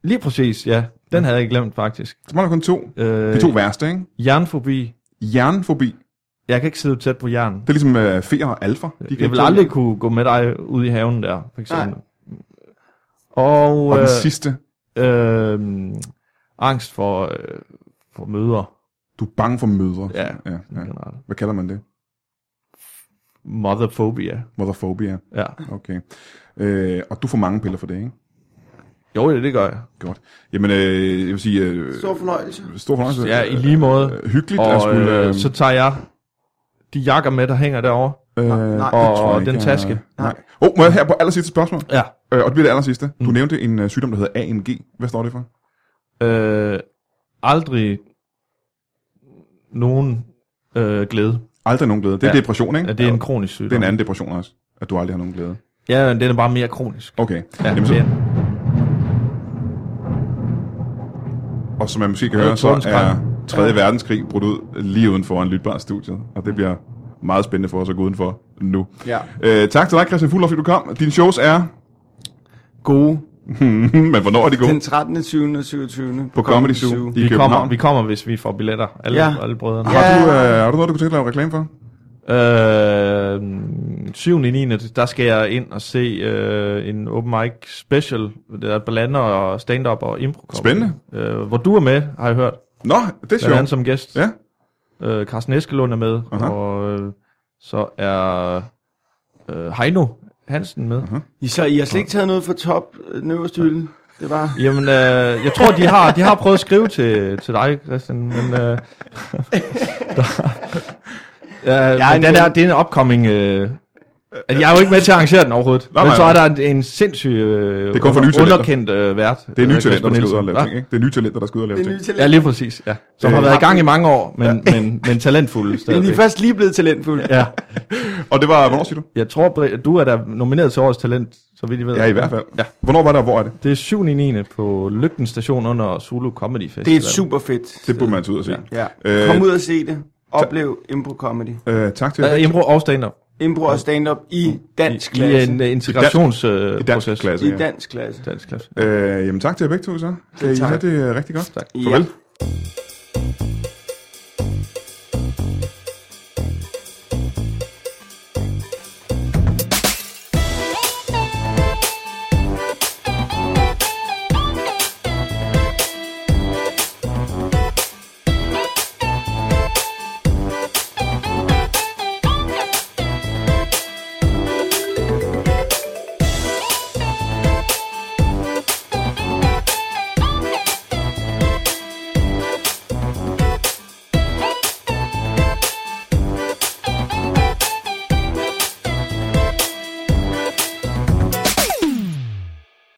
Lige præcis, ja. Den havde jeg glemt, faktisk. Så mangler vi kun 2. Øh, De to værste, ikke? Jernfobi. Hjernefobi. Jeg kan ikke sidde tæt på jern. Det er ligesom øh, feer og alfa. De Jeg vil aldrig kunne gå med dig ud i haven der, for eksempel. Nej. Og, Og øh, den sidste. øh, angst for, øh, for møder. Du er bange for mødre. Ja. ja, ja. generelt. Hvad kalder man det? Motherphobia. Motherphobia. Ja. Okay. Øh, og du får mange piller for det, ikke? Jo, det, det gør jeg. Godt. Jamen, øh, jeg vil sige... Øh, Stor fornøjelse. stor fornøjelse. Ja, i lige måde. Øh, hyggeligt at Og skulle... øh, så tager jeg de jakker med, der hænger derovre. øh, nej, det og- tror jeg og den ikke, taske. jeg- Nej. Åh, oh, må jeg her på aller sidste spørgsmål? Ja. Øh, og det bliver det aller sidste. Mm. Du nævnte en øh, sygdom, der hedder AMG. Hvad står det for? Øh, aldrig nogen øh, glæde. Aldrig nogen glæde. Det er Ja. depression, ikke? Ja, det er en kronisk det er sygdom. en anden depression også, at du aldrig har nogen glæde. Ja, men den er bare mere kronisk. Okay. Ja, Jamen, så, mere. og som man måske kan Det er høre, så er tordenskrald. 3. Ja. verdenskrig brudt ud lige uden for en lytbar studie, og Mm. det bliver meget spændende for os at gå udenfor nu. Ja. Øh, tak til dig, Christian Fuller, fordi du kom. Dine shows er, Gode. men hvornår er de gode? Den 13. 20. og 27. På Comedy Zoo. I vi, København. kommer, vi kommer, hvis vi får billetter. Alle, Ja. ja. alle brødrene. Har, du, Ja. øh, har du noget, du kunne tænke dig at lave reklame for? Øh, 7. 9. der skal jeg ind og se øh, en open mic special, der blander og stand-up og impro Spændende. Øh, hvor du er med, har jeg hørt. Nå, det er Blandt andet sjovt. som gæst. Ja. Øh, Carsten Eskelund er med, Aha. og øh, så er øh, Heino Hansen med. uh I, så I har slet ikke taget noget fra top øh, den øverste hylde. Det var... Jamen, øh, jeg tror, de har, de har prøvet at skrive til, til dig, Christian, men... Øh, der, ja, men en- den er, det er en upcoming... Øh, at jeg er jo ikke med til at arrangere den overhovedet. Nej, Nej, men nej, så er nej. der en, en sindssyg øh, er kun for nye talenter. underkendt øh, vært. Det er nye øh, Kasper talenter, der skal ud Nielsen. og lave Hva? ting, ikke? Det er nye talenter, der skal ud og lave ting. talent. Ja, lige præcis. Ja. Som Øh, har været i gang i mange år, men, men, men talentfulde Men I er stadigvæk. først lige blevet talentfulde. Ja. Og det var, hvornår siger du? Jeg tror, Bri- du er da nomineret til årets talent, så vidt jeg ved. Ja, i hvert fald. Ja. Hvornår var det, og hvor er det? Det er 7. 9. på Lygten Station under Zulu Comedy Festival. Det er super fedt. Det burde man tage ud og se. Ja. Øh, Kom ud og se det. Oplev impro comedy. Øh, tak til jer. Ja, impro og stand-up. Impro og stand-up i dansk I klasse. en øh, integrationsproces. I dansk klasse. I ja. dansk klasse. Dansk klasse. Øh, jamen tak til jer begge to, så. Kan I tak. have det øh, rigtig godt? Tak. Farvel. Ja.